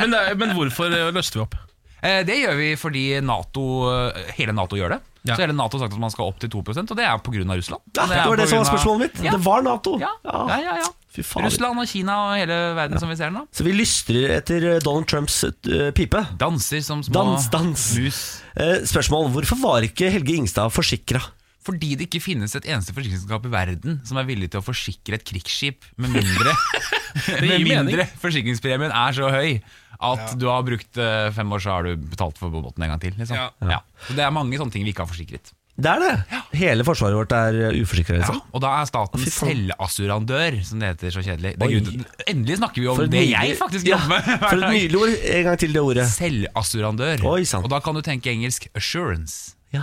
Men, det, er- men hvorfor eh, løste vi opp? Eh, Det gjør vi fordi NATO, eh, hele Nato gjør det. Ja. Så hele Nato har sagt at man skal opp til 2 og det er pga. Russland. Ja, Ah, det var på det som var grunn av- spørsmålet mitt. Ja. Det var Nato. Ja, ja, ja, ja. Fy faen. Russland og Kina og hele verden som vi ser den da. Så vi lystrer etter Donald Trumps eh, pipe. Danser som små Dans, dans. mus. Eh, Spørsmål. Hvorfor var ikke Helge Ingstad forsikra? Fordi det ikke finnes et eneste forsikringsselskap i verden som er villig til å forsikre et krigsskip, med mindre, gir med mening. mindre forsikringspremien er så høy at du har brukt eh, fem år, så har du betalt for båten en gang til. Liksom. Ja. Ja. Så det er mange sånne ting vi ikke har forsikret. Det er det. Hele forsvaret vårt er uforsikra. Liksom. Og da er staten fy faen. selvassurandør, som det heter så kjedelig. Det er Oi. grunnen til- endelig snakker vi om For et det nydelig- jeg faktisk Ja, jobber med. hver For et dag. nydelig ord. En gang til det ordet. Selvassurandør. Oi, sant. Og da kan du tenke engelsk assurance. Ja.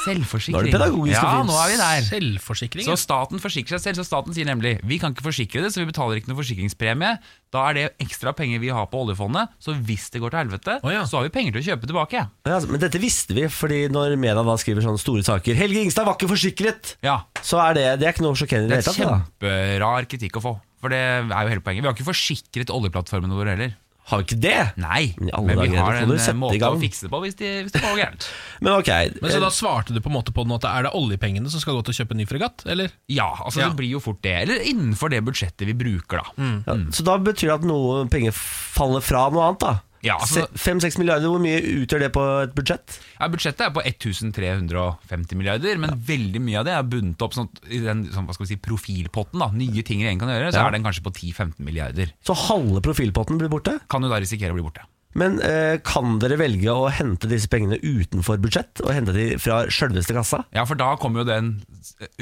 Selvforsikring. Nå er det pedagogisk og ja, fint. nå er vi der. Selvforsikring. Så ja. staten forsikrer seg selv. Så staten sier nemlig vi kan ikke forsikre det, så vi betaler ikke noen forsikringspremie. Da er det ekstra penger vi har på oljefondet, så hvis det går til helvete, Å, ja. så har vi penger til å kjøpe tilbake. Ja, altså, men dette visste vi, fordi når media da skriver sånne store saker Helge Ingstad var ikke forsikret! Ja, Så er det Det er ikke noe sjokkerende i Det det er hele tatt. da. kjemperar kritikk å få. For det er jo hele poenget. Vi har ikke forsikret oljeplattformene våre heller. Har vi ikke det? Nei, I alle men vi dager, har da får en du eh, sette i måte å gang. fikse det på hvis det hvis det går gærent. Men ok. Men Eh, så da svarte du på en måte på den at er det oljepengene som skal gå til å kjøpe en ny fregatt, eller? Ja, altså Ja. det blir jo fort det. Eller innenfor det budsjettet vi bruker, da. eh, ja, så da betyr det at noe penger faller fra noe annet, da? Ja, altså- Se- Fem-seks milliarder, hvor mye utgjør det på et budsjett? Ja, budsjettet er på 1350 milliarder, men veldig mye av det er bundet opp sånn, at i den sånn, hva skal vi si, profilpotten. da, Nye ting regjeringen kan gjøre, så Ja. er den kanskje på 10-15 milliarder. Så halve profilpotten blir borte? Kan jo da risikere å bli borte. Men eh, kan dere velge å hente disse pengene utenfor budsjett? Og hente de fra sjølveste kassa? Ja, for da kommer jo den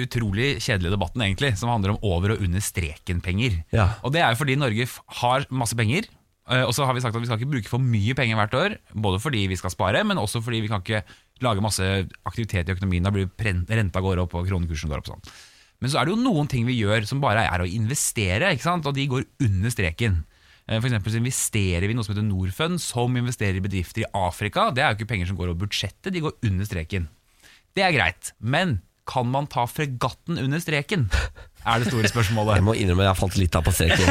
utrolig kjedelige debatten egentlig, som handler om over og under streken-penger. Ja. Og det er jo fordi Norge f- har masse penger, eh, og så har vi sagt at vi skal ikke bruke for mye penger hvert år, både fordi vi skal spare, men også fordi vi kan ikke lage masse aktivitet i økonomien, da blir pren- renta går opp og kronekursen går opp sånn. Men så er det jo noen ting vi gjør som bare er å investere, ikke sant? og de går under streken. Eh, For eksempel så investerer vi i noe som heter Norfund, som investerer i bedrifter i Afrika. Det er jo ikke penger som går over budsjettet, de går under streken. Det er greit, men kan man ta fregatten under streken? Er det store spørsmålet. Jeg må innrømme jeg har falt litt av på streken.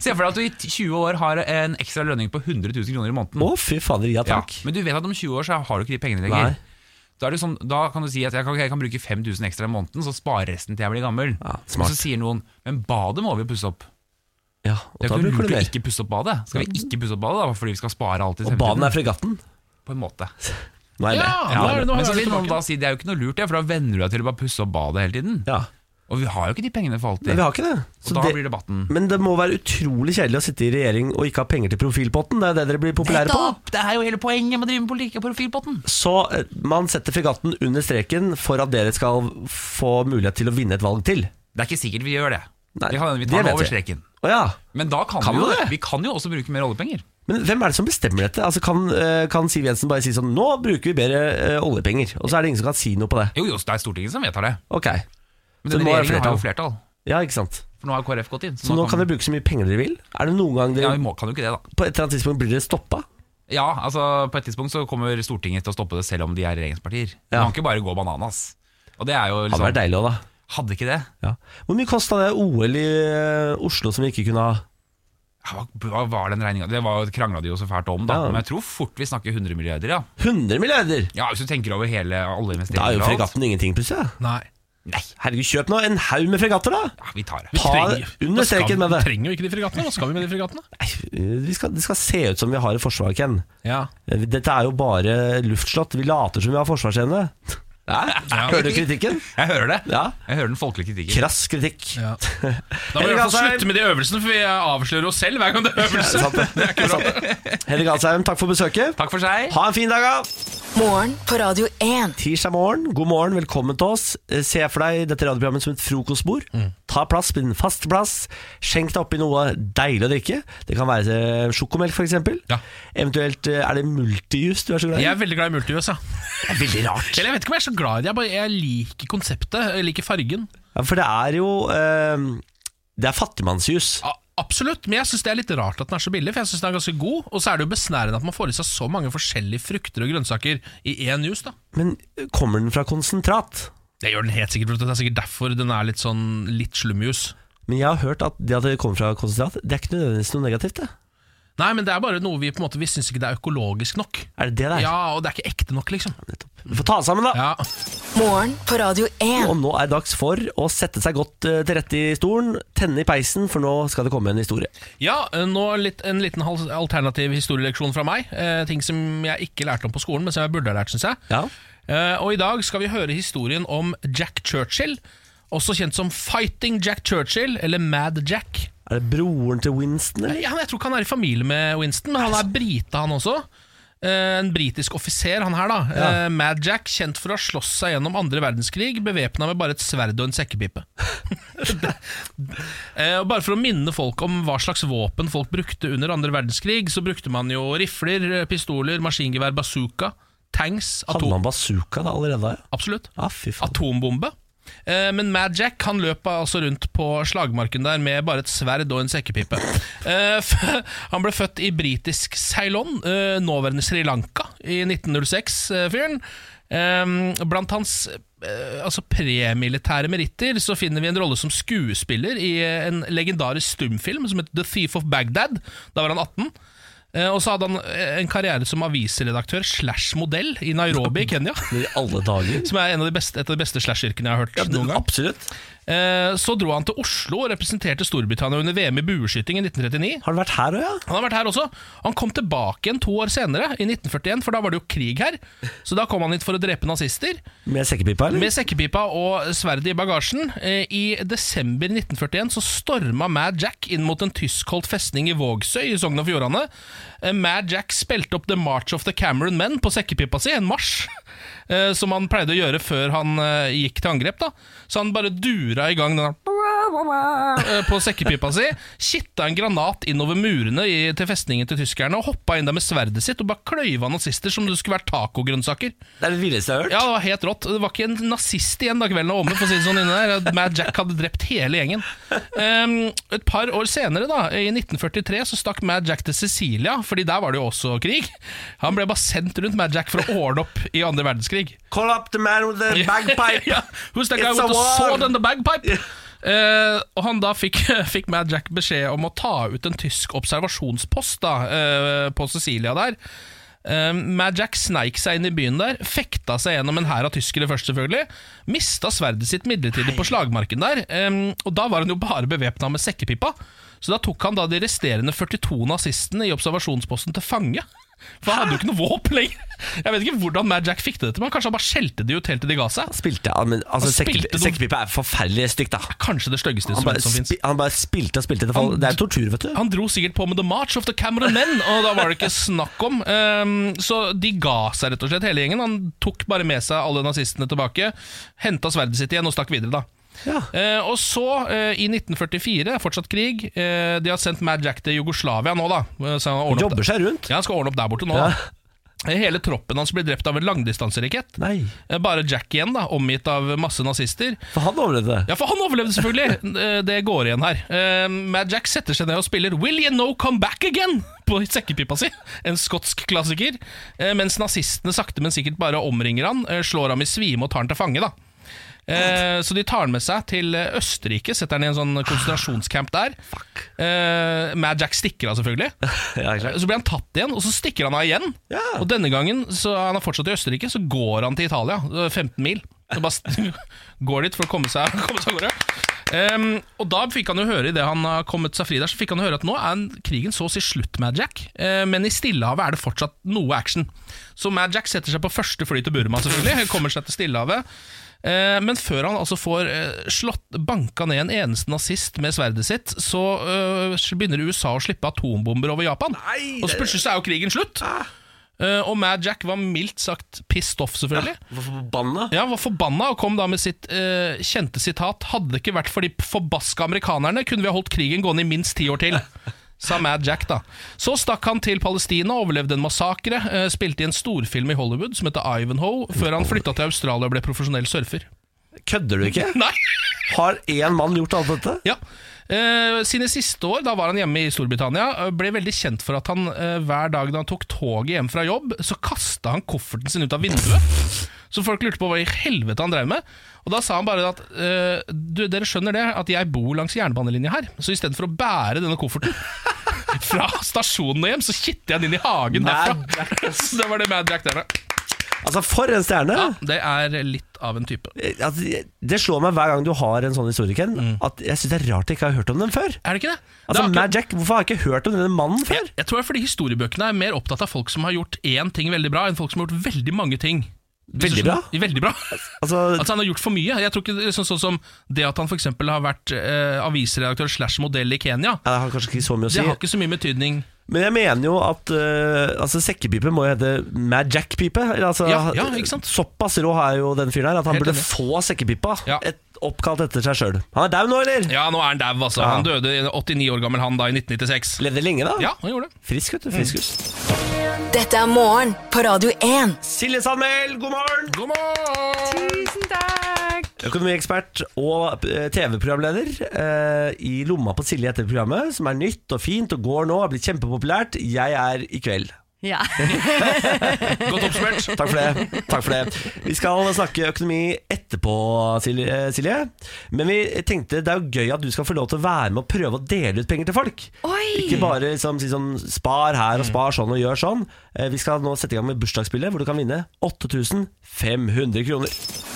Se for deg at du i 20 år har en ekstra lønning på 100 000 kroner i måneden. Å, fy fader, ja takk. Ja, men du vet at om 20 år så har du ikke de pengene lenger. Nei. Da, er det sånn, da kan du si at jeg kan, jeg kan bruke 5000 ekstra i måneden, så sparer resten til jeg blir gammel. Ja, smart. Og så sier noen men badet må vi pusse opp. Ja, og da Det er ikke bruker lurt du å mer. ikke pusse opp badet. Skal vi ikke pusse opp badet da, fordi vi skal spare alt i Og banen er fremtiden? fregatten. På en måte. Nå er jeg Ja, med. nå er det noe Men så høyere vil noen tilbake. da si det er jo ikke noe lurt, det, for da venner du deg til å bare pusse opp badet hele tiden. Ja. Og vi har jo ikke de pengene for alltid. Men vi har ikke det. Og Så da det blir debatten men det må være utrolig kjedelig å sitte i regjering og ikke ha penger til profilpotten. Det er det dere blir populære på. Nettopp! Det er jo hele poenget med å drive med politikk og profilpotten. Så eh, man setter fregatten under streken for at dere skal få mulighet til å vinne et valg til. Det er ikke sikkert vi gjør det. Nei, vi, kan, vi det tar vet det over vi. streken. Å ja. Men da kan, Kan vi jo man det. det? Vi kan jo også bruke mer oljepenger. Men hvem er det som bestemmer dette? Altså kan, eh, kan Siv Jensen bare si sånn Nå bruker vi bedre eh, oljepenger, og så er det ingen som kan si noe på det. Jo, jo, det er Stortinget som vedtar det. Ok, Men Så denne det må være regjeringen har jo flertall. ja ikke sant For nå har KrF gått inn. Så nå kan dere bruke så mye penger dere vil. Er det noen gang ja, dere vi må, kan jo ikke det, da. på et eller annet tidspunkt blir dere stoppa? Ja, altså På et tidspunkt så kommer Stortinget til å stoppe det, selv om de er regjeringspartier. De Ja. kan ikke bare gå bananas. Og det er jo Hadde vært liksom deilig òg, da. Hadde ikke det? Ja. Hvor mye kosta det OL i eh, Oslo som vi ikke kunne ha? Hva hva var den regninga? Det var- krangla de jo så fælt om, da. Ja. Men jeg tror fort vi snakker 100 milliarder, ja. 100 milliarder! ja hvis du tenker over hele Da alle er investeringer jo og alt. fregatten ingenting, plutselig. da. Nei. Nei, Herregud, kjøp nå en haug med fregatter, da! ja, vi tar det. Vi Ta under Hva skal streken vi- med det. trenger jo ikke de fregattene. Hva skal vi med de fregattene? Nei, vi skal, det skal se ut som vi har et forsvar, Ken. Ja. Dette er jo bare luftslott. Vi later som vi har forsvarsevne. Nei, Hører du kritikken? Jeg hører det. Ja. Jeg hører den folkelige kritikken. Krass kritikk. Ja. Da må vi i Henrik hvert fall Asheim. slutte med de øvelsene, for vi avslører oss selv hver gang det er øvelse. Sant det. Sant det. Henrik Asheim, takk for besøket. Takk for seg. Ha en fin dag, da! Morgen på Radio 1. Tirsdag morgen, god morgen, velkommen til oss. Eh, Se for deg dette radioprogrammet som et frokostbord. Mm. Ta plass, bli en fast plass. Skjenk deg oppi noe deilig å drikke. Det kan være eh, sjokomelk, f.eks. Ja. Eventuelt eh, er det multijus du er så glad i. Jeg er veldig glad i multijus. Ja. Det er veldig rart. Eller jeg vet ikke om jeg er så glad i det, jeg, bare, jeg liker konseptet. Jeg liker fargen. Ja, for det er jo eh, Det er fattigmannsjus. A absolutt, men jeg syns det er litt rart at den er så billig, for jeg syns den er ganske god. Og så er det jo besnærende at man får i seg så mange forskjellige frukter og grønnsaker i én juice, da. Men eh, kommer den fra konsentrat? Det gjør den helt sikkert, for det er sikkert derfor den er litt sånn litt slumjus. Men jeg har hørt at det at det kommer fra konsentrat, det er ikke nødvendigvis noe negativt. det Nei, men det er bare noe vi på en måte Vi syns ikke det er økologisk nok. Er det det det er? Ja, og det er ikke ekte nok, liksom. Nettopp. Vi får ta oss sammen, da. Ja, Morgen på Radio 1. Og nå er det dags for å sette seg godt eh, til rette i stolen, tenne i peisen, for nå skal det komme en historie. ja eh, nå litt, en liten hal- alternativ historieleksjon fra meg. Eh, ting som jeg ikke lærte om på skolen, men som jeg burde ha lært, syns jeg. Ja. Eh, og i dag skal vi høre historien om Jack Churchill, også kjent som Fighting Jack Churchill, eller Mad Jack. Er det broren til Winston, eller? Ja, han- jeg tror ikke han er i familie med Winston, men han er brite, han også. Eh, En britisk offiser, han her, da. Ja. Eh, Mad Jack, kjent for å ha slåss seg gjennom andre verdenskrig, bevæpna med bare et sverd og en sekkepipe. Eh, og bare for å minne folk om hva slags våpen folk brukte under andre verdenskrig, så brukte man jo rifler, pistoler, maskingevær, bazooka, tanks, Hadde atom... han bazooka da allerede? Ja, Absolutt ja fy faen. atombombe. Eh, Men Mad Jack han løp altså rundt på slagmarken der med bare et sverd og en sekkepipe. Eh, f- Han ble født i britisk Ceylon, eh, nåværende Sri Lanka, i 1906-fyren. eh, Ehm, Blant hans eh, altså premilitære meritter så finner vi en rolle som skuespiller i eh, en legendarisk stumfilm som het The Thief of Bagdad. Da var han 18. Eh, Og så hadde han eh, en karriere som avisredaktør slash modell i Nairobi i Kenya. Men I alle dager. Som er en av de beste, et av de beste slash-yrkene jeg har hørt noen gang. Absolutt. Eh, så dro han til Oslo og representerte Storbritannia under VM i bueskyting i 1939. Har han vært her òg, ja? Han har vært her også. Han kom tilbake igjen to år senere, i 1941, for da var det jo krig her. Så da kom han hit for å drepe nazister. Med sekkepipa, eller? Med sekkepipa og sverdet i bagasjen. Eh, I desember 1941 så storma Mad Jack inn mot en tyskholdt festning i Vågsøy i Sogn og Fjordane. Eh, Mad Jack spilte opp The March of the Cameron Men på sekkepipa si, en marsj. eh, Som han pleide å gjøre før han eh, gikk til angrep. da Så han bare dura i gang den der eh, på sekkepipa si, kitta en granat innover murene i, til festningen til tyskerne og hoppa inn der med sverdet sitt og bare kløyva nazister som om det skulle vært tacogrønnsaker. Det er det villeste jeg har hørt. Ja, det var helt rått. Det var ikke en nazist igjen da kvelden var omme. For å si det sånn inne der Mad Jack hadde drept hele gjengen. Ehm, et par år senere, da i 1943, så stakk Mad Jack til Sicilia, Fordi der var det jo også krig. Han ble bare sendt rundt Mad Jack for å ordne opp i andre verdenskrig. Call up the man with the bagpipe. ja, who's that guy It's a with the war. sword and the bagpipe? Eh, og han da fikk, fikk Mad Jack beskjed om å ta ut en tysk observasjonspost da, eh, på Sicilia der. Eh, Mad Jack sneik seg inn i byen der, fekta seg gjennom en hær av tyskere først, selvfølgelig. Mista sverdet sitt midlertidig på slagmarken der, eh, og da var han jo bare bevæpna med sekkepipa. Så da tok han da de resterende 42 nazistene i observasjonsposten til fange. For han hadde jo ikke noe våpen lenger. Jeg vet ikke hvordan Mad Jack fikk det til, men kanskje han bare skjelte de ut helt til de ga seg. Spilte ja, men, altså, Han spilte sekkepi- noe- Sekkepipa er forferdelig stygt, da. Kanskje det styggeste Han instrumentet bare, som fins. spi, han bare spilte og spilte. Det, fall. Han- det er tortur, vet du. Han dro sikkert på med The March of the Cameron Men, og da var det ikke snakk om. Ehm, så de ga seg rett og slett, hele gjengen. Han tok bare med seg alle nazistene tilbake, henta sverdet sitt igjen og stakk videre, da. Ja. Eh, og så, eh, i 1944, fortsatt krig, eh, de har sendt Mad Jack til Jugoslavia nå, da. eh, Så han, ordner opp Jobber der. seg rundt. ja, han skal ordne opp der borte nå, Ja. da. Eh, Hele troppen hans blir drept av en langdistanserakett. Nei, Eh, Bare Jack igjen, da, omgitt av masse nazister. for han overlevde det. Ja, for han overlevde selvfølgelig. Eh, Det går igjen her. Eh, Mad Jack setter seg ned og spiller Will You Know Come Back Again på sekkepipa si. En skotsk klassiker. Eh, Mens nazistene sakte, men sikkert bare omringer han, eh, slår ham i svime og tar han til fange. da. Eh, så de tar han med seg til eh, Østerrike, setter han i en sånn konsentrasjonscamp der. Eh, Mad Jack stikker av, selvfølgelig. Ja, ikke sant? Så blir han tatt igjen, og så stikker han av igjen. Ja. Og denne gangen, så han er fortsatt i Østerrike, så går han til Italia, eh, 15 mil. Så bare st- går dit for å komme seg komme seg av gårde. Ehm, og da fikk han jo høre i det han har kommet seg fri der, så fikk han jo høre at nå er en- krigen så å si slutt med Jack, eh, men i Stillehavet er det fortsatt noe action. Så Mad Jack setter seg på første fly til Burma, selvfølgelig, kommer seg til Stillehavet. Eh, Men før han altså får eh, slått, banka ned en eneste nazist med sverdet sitt, så eh, begynner USA å slippe atombomber over Japan. og så plutselig så er jo krigen slutt. Eh, og Mad Jack var mildt sagt pissed off, selvfølgelig. Hvorfor forbanna? Ja, han var forbanna og kom da med sitt eh, kjente sitat Hadde det ikke vært for de forbaska amerikanerne, kunne vi ha holdt krigen gående i minst ti år til. Sa Mad Jack, da. Så stakk han til Palestina, overlevde en massakre, eh, spilte i en storfilm i Hollywood som heter Ivanhoe, før han flytta til Australia og ble profesjonell surfer. Kødder du ikke? Nei! Har én mann gjort alt dette? Ja. Eh, sine siste år, da var han hjemme i Storbritannia, eh, ble veldig kjent for at han eh, hver dag da han tok toget hjem fra jobb, så kasta han kofferten sin ut av vinduet. Så folk lurte på hva i helvete han drev med. Og da sa han bare at eh, du, dere skjønner det, at jeg bor langs jernbanelinja her, så istedenfor å bære denne kofferten fra stasjonen og hjem, så kitter jeg den inn i hagen Mad herfra. Så det var det Mad Jack der, da. Altså, for en stjerne! Ja, det er litt av en type. Altså, det slår meg hver gang du har en sånn historie, Ken, at jeg syns det er rart jeg ikke har hørt om den før. Er det ikke det? Mm. det Altså, er akkurat- Mad Jack, Hvorfor har jeg ikke hørt om denne mannen før? Jeg tror det er fordi historiebøkene er mer opptatt av folk som har gjort én ting veldig bra, enn folk som har gjort veldig mange ting. Hvis Veldig du skjønner- bra? Veldig bra. Altså, Altså Han har gjort for mye. Jeg tror ikke det er sånn, sånn som Det at han for eksempel har vært eh, avisredaktør slash modell i Kenya, ja, Det har kanskje ikke så mye å si. det har ikke så mye betydning. Men jeg mener jo at øh, altså, sekkepipe må jo hete Mad Jack-pipe. Eller, Altså, Ja, ja, ikke sant? Såpass rå er jo den fyren her at han Helt burde enig. få sekkepipa Ja. et, oppkalt etter seg sjøl. Han er dau nå, eller? Ja, nå er han dau, altså. Han døde 89 år gammel, han da, i 1996. Levde lenge, da? Ja, Mm. han gjorde det. Frisk, vet du. Frisk gutt. Dette er morgen på Radio 1. Silje Sandmæl, god morgen! God morgen! Tusen takk! Økonomiekspert og eh, TV-programleder eh, i lomma på Silje etter programmet, som er nytt og fint og går nå, har blitt kjempepopulært. Jeg er i kveld. Ja. Godt oppsummert. Takk for det. Takk for det. Vi skal snakke økonomi etterpå, Silje. eh, Silje. Men vi tenkte det er jo gøy at du skal få lov til å være med og prøve å dele ut penger til folk. Oi! Ikke bare liksom, si sånn spar her og spar sånn og gjør sånn. Eh, Vi skal nå sette i gang med bursdagsspillet, hvor du kan vinne 8500 kroner.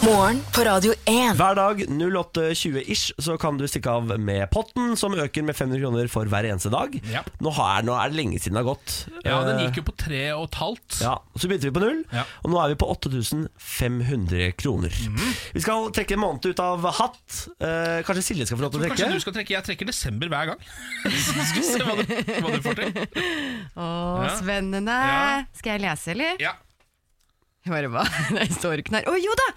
Morgen på Radio 1. Hver dag 08.20-ish så kan du stikke av med potten, som øker med 500 kroner for hver eneste dag. Ja. Nå, er, nå er det lenge siden det har gått. Ja, den Eh, gikk jo på tre og et halvt. ja, og Så begynte vi på null, Ja. og nå er vi på 8500 kroner. Mhm. Vi skal trekke en måned ut av hatt. Eh, kanskje Silje skal få lov til å Kanskje du trekke? skal trekke Jeg trekker desember hver gang. Så skal vi se hva du, hva du får til. Å, Ja. spennende. Ja. Skal jeg lese, eller? Ja. Jeg bare, hva? Det står ikke her. Å jo da!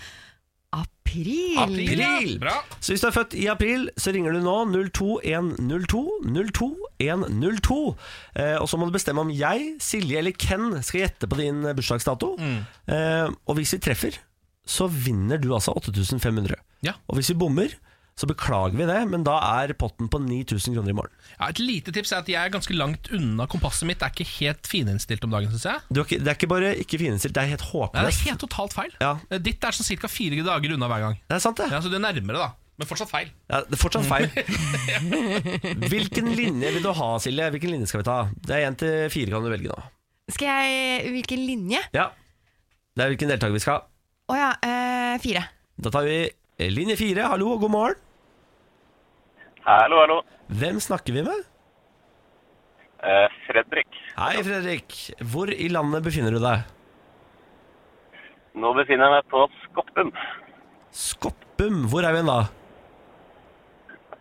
April. April! Bra. Så hvis du er født i april, så ringer du nå 02102 02102. Eh, og så må du bestemme om jeg, Silje eller Ken skal gjette på din eh, bursdagsdato. Mm. Eh, og hvis vi treffer, så vinner du altså 8500. Ja. Og hvis vi bommer, så beklager vi det, men da er potten på 9000 kroner i morgen. Ja, et lite tips er at jeg er ganske langt unna kompasset mitt. Det er ikke helt fininnstilt om dagen, syns jeg. Du har ikke, det er ikke bare ikke finestilt, det er helt Nei, det er håpløst. helt totalt feil. Ja. Eh, Ditt er sånn ca. fire dager unna hver gang. Det er sant, det. Ja, så du er nærmere, da. Men fortsatt feil. Ja, det er fortsatt feil. Hvilken linje vil du ha, Silje? Hvilken linje skal vi ta? Det er én til fire kan du velge nå. Skal jeg Hvilken linje? Ja. Det er hvilken deltaker vi skal ha. Å ja, eh, fire. Da tar vi linje fire. Hallo og god morgen. Hallo, hallo. Hvem snakker vi med? Eh, Fredrik. Hei, Fredrik. Hvor i landet befinner du deg? Nå befinner jeg meg på Skoppen. Skoppum. Hvor er vi igjen da?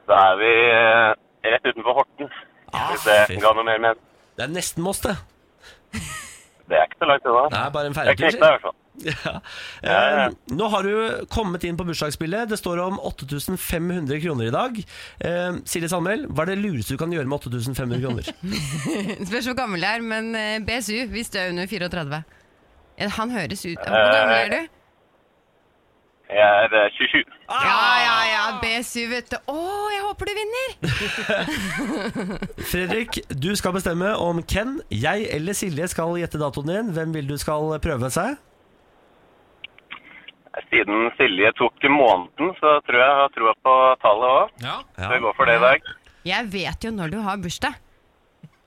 Da er vi eh, rett utenfor Horten. Hvis Ah, fy. det ga noe mer men Det er nesten Moss, det. Det er ikke så langt Det unna. er bare en Jeg ferjetur. knekte i hvert fall. Ja. ja, ja. Eh, Nå har du kommet inn på bursdagsspillet. Det står om 8500 kroner i dag. Eh, Silje Sandmæl, hva er det lureste du kan gjøre med 8500 kroner? Spørs hvor gammel jeg er, men eh, BSU hvis du er under 34. Ja, Han høres ut Hvor gammel er du? Jeg er eh, 27. Ja, ja, ja, B7, vet du. Å, jeg håper du vinner! Fredrik, du skal bestemme om Ken, jeg eller Silje skal gjette datoen din. Hvem vil du skal prøve seg? Siden Silje tok måneden, så tror jeg jeg har troa på tallet òg. Ja. Så vi går for det i dag. Jeg vet jo når du har bursdag.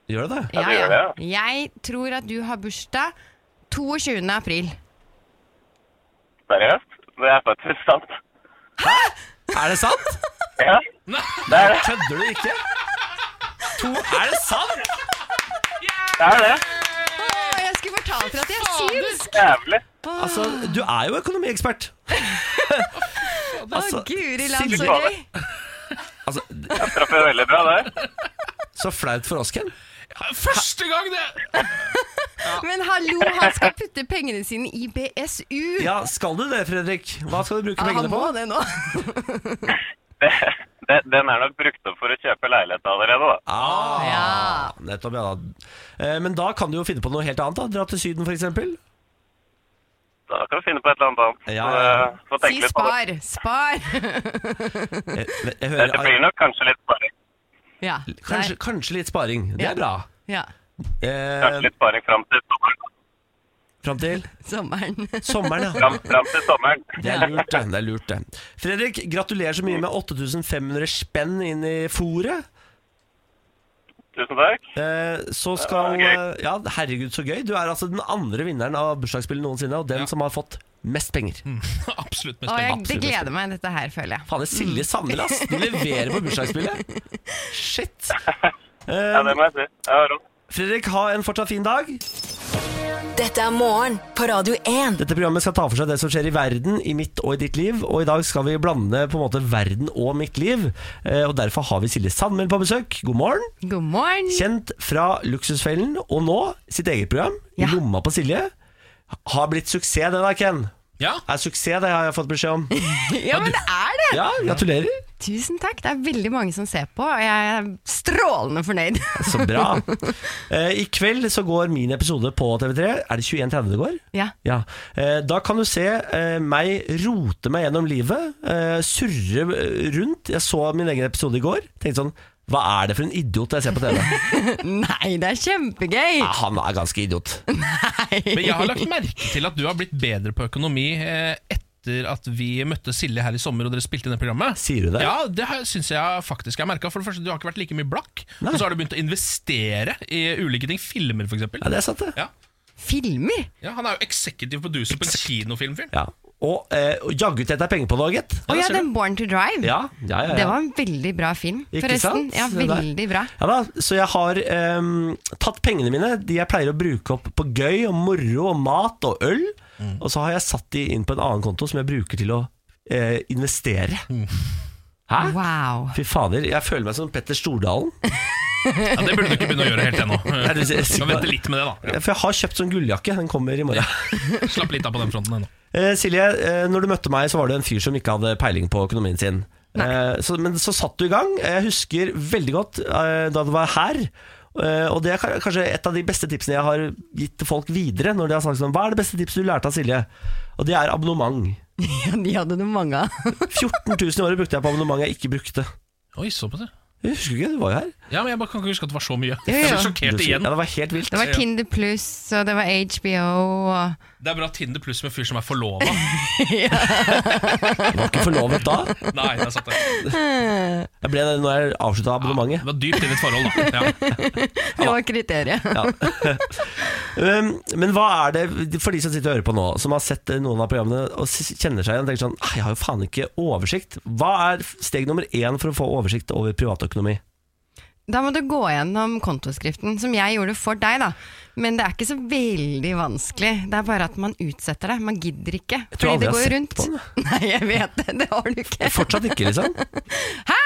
Gjør du det? Ja, du gjør det, Jeg tror at du har bursdag 22. april. Seriøst? Det er faktisk sant. Er det sant? Ja. Det er det. Kødder du ikke? To, er det sant? det er det. Å, jeg skulle fortalt dere at jeg syns! Jævlig. Altså, du er jo økonomiekspert. Å, guri land, Altså, Silje- så gøy! altså, Jeg traff jo veldig bra der. så flaut for oss, Ken. Første gang, det! Men hallo, han skal putte pengene sine i BSU! Ja, skal du det, Fredrik? Hva skal du bruke Ja, han pengene på? må det nå. Det, det, den er nok brukt opp for å kjøpe leilighet allerede, da. Ah, Ja. Nettopp, ja. da. Eh, Men da kan du jo finne på noe helt annet. da Dra til Syden, f.eks. Da kan vi finne på et eller annet annet. Ja, ja, ja. Så, eh, Få Si tenke litt på det. spar! Spar! Jeg, Eh, jeg hører Dette blir nok kanskje litt sparing. Ja. kanskje, der. kanskje litt sparing. Det Ja. er bra. ja. Kanskje Eh, litt sparing fram til sommeren. Fram til Sommeren. sommeren, ja. Fram, fram til sommeren. Det er lurt, det. det, er lurt, det. Fredrik, gratulerer så mye med 8500 spenn inn i fòret. Tusen takk. Eh, så skal Ja, eh, Ja, herregud, så ggøy. Du er altså den andre vinneren av bursdagsspillet noensinne, og den som har fått mest penger. Absolutt mest Og jeg, penger. liksom. det gleder meg, dette her, føler jeg. Fader, Silje Sandel, ass. Du leverer på bursdagsspillet. Shit. Ja, det må jeg si. Ja, rått. Fredrik, ha en fortsatt fin dag. Dette er morgen på Radio 1. Dette programmet skal ta for seg det som skjer i verden, i mitt og i ditt liv. Og i dag skal vi blande på en måte verden og mitt liv. Eh, Og derfor har vi Silje Sandmæl på besøk. God morgen. God morgen! Kjent fra Luksusfellen, og nå sitt eget program, Ja. Lomma på Silje. Har blitt suksess, det da, Ken. Ja, Er suksess, det har jeg fått beskjed om. Ja, men det er det! Ja, gratulerer. Tusen takk. Det er veldig mange som ser på, og jeg er strålende fornøyd. Så bra. Eh, I kveld så går min episode på TV3. Er det 21.30 det går? Ja. Ja, eh, Da kan du se eh, meg rote meg gjennom livet, eh, surre eh, rundt. Jeg så min egen episode i går. Tenkte sånn Hva er det for en idiot jeg ser på TV? Nei, det er kjempegøy! Ja, han er ganske idiot. Men jeg har lagt merke til at du har blitt bedre på økonomi eh, etter at vi møtte Silje her i sommer og dere spilte inn det programmet. Sier du det? Ja, det har- syns jeg faktisk jeg har merka. For det første, du har ikke vært like mye blakk. Nei. Og så har du begynt å investere i ulike ting. Filmer, for eksempel. Ja, det er sant, det. Ja. Filmer! Ja, han er jo executive producer på en kinofilmfilm. Ja. Og, eh, og jaggu tjente jeg penger på det òg, gitt. Å det ja, ser den Born to Drive. Ja, ja, ja, Det ja. var en veldig bra film, Ikke forresten. sant? Ja, Det der. veldig bra. Ja da, Så jeg har ehm, tatt pengene mine, de jeg pleier å bruke opp på gøy og moro og mat og øl, og så har jeg satt de inn på en annen konto som jeg bruker til å eh, investere. Hæ? Wow. Fy fader, jeg føler meg som Petter Stordalen. Ja, det burde du ikke begynne å gjøre helt ennå. Er du sikker? Du kan vente litt med det, For jeg har kjøpt sånn gulljakke, den kommer i morgen. da. Slapp litt av på den fronten ennå. Eh, Silje, eh, når du møtte meg så var det en fyr som ikke hadde peiling på økonomien sin. Eh, så, men så satt du i gang. Jeg husker veldig godt eh, da du var her. Eh, og det er ka- kanskje et av de beste tipsene jeg har gitt til folk videre. Når de har sagt sånn, Hva er det beste tipset du lærte av Silje? Og det er abonnement. Ja, de hadde det mange av. 14 000 i året brukte jeg på abonnement jeg ikke brukte. Oi, såpass, ja. Jeg husker ikke, du var jo her. Ja, men jeg bare kan ikke huske at det var så mye. Ja, ja. Jeg ble Du sjokkert husker- igjen. Ja, det var helt vilt. Det var Tinder Pluss, og det var HBO og Det er bra Tinder pluss med fyr som er forlova. Jeg var ikke forlovet da. Nei, jeg satt der. Jeg ble det når jeg avslutta abonnementet. Det var dypt i ditt forhold, da. Ja. Det var kriteriet. Um, men hva er det for de som sitter og hører på nå, som har sett eh, noen av programmene og s- kjenner seg igjen og tenker sånn «Nei, Jeg har jo faen ikke oversikt. Hva er f- steg nummer én for å få oversikt over privatøkonomi? Da må du gå gjennom kontoskriften, som jeg gjorde for deg, da. Men det er ikke så veldig vanskelig. Det er bare at man utsetter det. Man gidder ikke. tror aldri jeg har Fordi det går jo sett rundt. på Nei, jeg vet det. Det har du ikke. Fortsatt ikke, liksom. Hæ?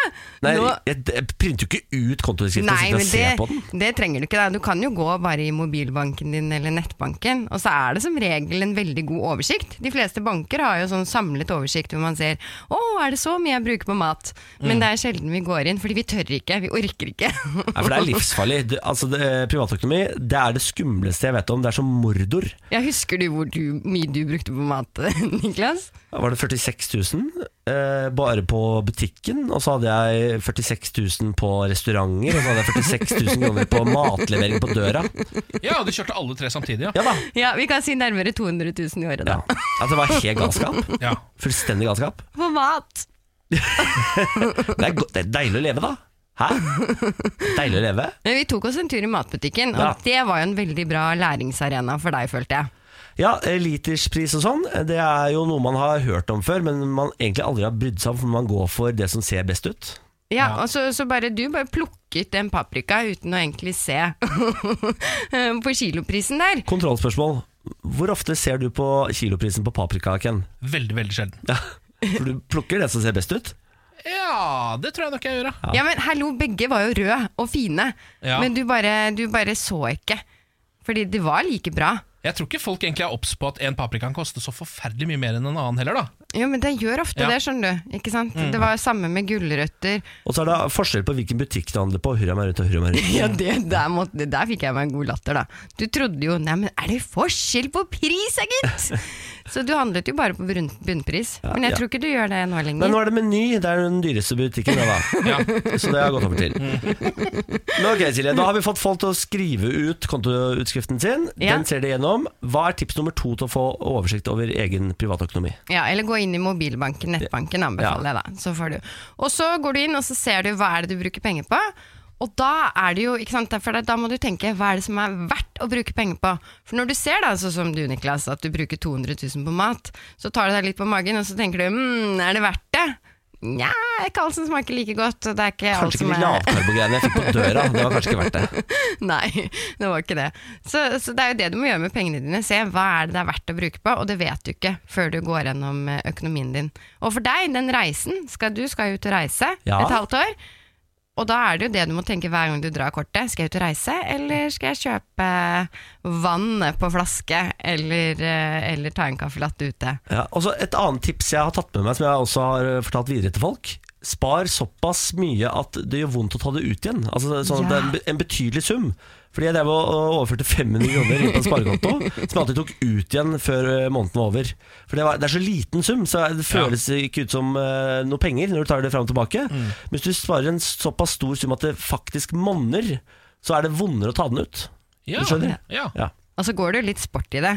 Nei, Nå- jeg, jeg printer jo ikke ut kontodiskriften og Nei, sitter men og det, ser på den. det trenger du ikke. Da. Du kan jo gå bare i mobilbanken din eller nettbanken, og så er det som regel en veldig god oversikt. De fleste banker har jo sånn samlet oversikt hvor man ser å, er det så mye jeg bruker på mat? Mm. Men det er sjelden vi går inn, fordi vi tør ikke, vi orker ikke. Nei, for det er livsfarlig. Det, altså, det, eh, privatøkonomi det er det skumleste jeg vet om. Det er som Mordor. Jeg husker du hvor du, mye du brukte på mat, Niklas? Da var det 46 000 eh, bare på butikken, og så hadde jeg 46 000 på restauranter, og så hadde jeg 46 000 kroner på matlevering på døra. Ja, du kjørte alle tre samtidig, ja. Ja da. Ja, vi kan si nærmere 200 000 i året, da. Ja. At det var helt galskap. ja. Fullstendig galskap. På mat! Det er, go- det er deilig å leve, da. Hæ? Deilig å leve? Men vi tok oss en tur i matbutikken, og Ja. det var jo en veldig bra læringsarena for deg, følte jeg. Ja, eh, literspris og sånn, det er jo noe man har hørt om før, men man egentlig aldri har brydd seg om, for man går for det som ser best ut. Ja, og så, så bare du bare plukket den paprika uten å egentlig se på kiloprisen der. Kontrollspørsmål. Hvor ofte ser du på kiloprisen på paprika, Ken? Veldig, veldig sjelden. Ja, for du plukker det som ser best ut? Ja, det tror jeg nok jeg gjør, ja. Ja, men hallo, begge var jo røde og fine, Ja. men du bare, du bare så ikke. Fordi det var like bra. Jeg tror ikke folk egentlig er obs på at en paprika kan koste så forferdelig mye mer enn en annen heller, da. Jo, men det gjør ofte Ja. det, skjønner du. Ikke sant? Det var samme med gulrøtter. Og så er det forskjell på hvilken butikk du handler på. Hurra meg rundt og hurra meg rundt. Ja, det, der, måtte, det der fikk jeg meg en god latter, da. Du trodde jo Nei, men er det forskjell på pris, da, gitt? Så du handlet jo bare på brun- bunnpris. Men jeg ja. tror ikke du gjør det nå Men lenger. nå er det Meny. Det er den dyreste butikken, det, da. Så det har jeg gått over til. Men ok, Silje, Da har vi fått folk til å skrive ut kontoutskriften sin. Ja. Den ser de gjennom. Hva er tips nummer to til å få oversikt over egen privatøkonomi? Ja, eller gå inn i mobilbanken, nettbanken anbefaler jeg da. Så får du. Og så går du inn og så ser du hva er det du bruker penger på. Og da er det jo, ikke sant, for da må du tenke hva er det som er verdt å bruke penger på. For når du ser da, sånn som du Niklas, at du bruker 200 000 på mat, så tar du deg litt på magen og så tenker du mm, er det verdt det? Nja, ikke alt som smaker like godt. og Det er ikke alt Kanskje ikke de som er lavkarbogreiene jeg fikk på døra. Det var kanskje ikke verdt det. Nei, det var ikke det. Så, så det er jo det du må gjøre med pengene dine. Se hva er det det er verdt å bruke på, og det vet du ikke før du går gjennom eh, økonomien din. Og for deg, den reisen skal Du skal jo ut og reise Ja. et halvt år. Og da er det jo det du må tenke hver gang du drar kortet. Skal jeg ut og reise, eller skal jeg kjøpe vann på flaske, eller, eh, eller ta en kaffelatte ute? Ja, og så Et annet tips jeg har tatt med meg, som jeg også har eh, fortalt videre til folk. Spar såpass mye at det gjør vondt å ta det ut igjen. Altså sånn at det er en be- En betydelig sum. Fordi jeg drev og og overførte 500 kroner inn på en sparekonto, som jeg alltid tok ut igjen før eh, måneden var over. For det, var, det er så liten sum, så det føles ikke ut som eh, noe penger når du tar det fram og tilbake. Men hvis du sparer en såpass stor sum at det faktisk monner, så er det vondere å ta den ut. Ja, Du skjønner? Ja. Ja. Og så går det jo litt sport i det.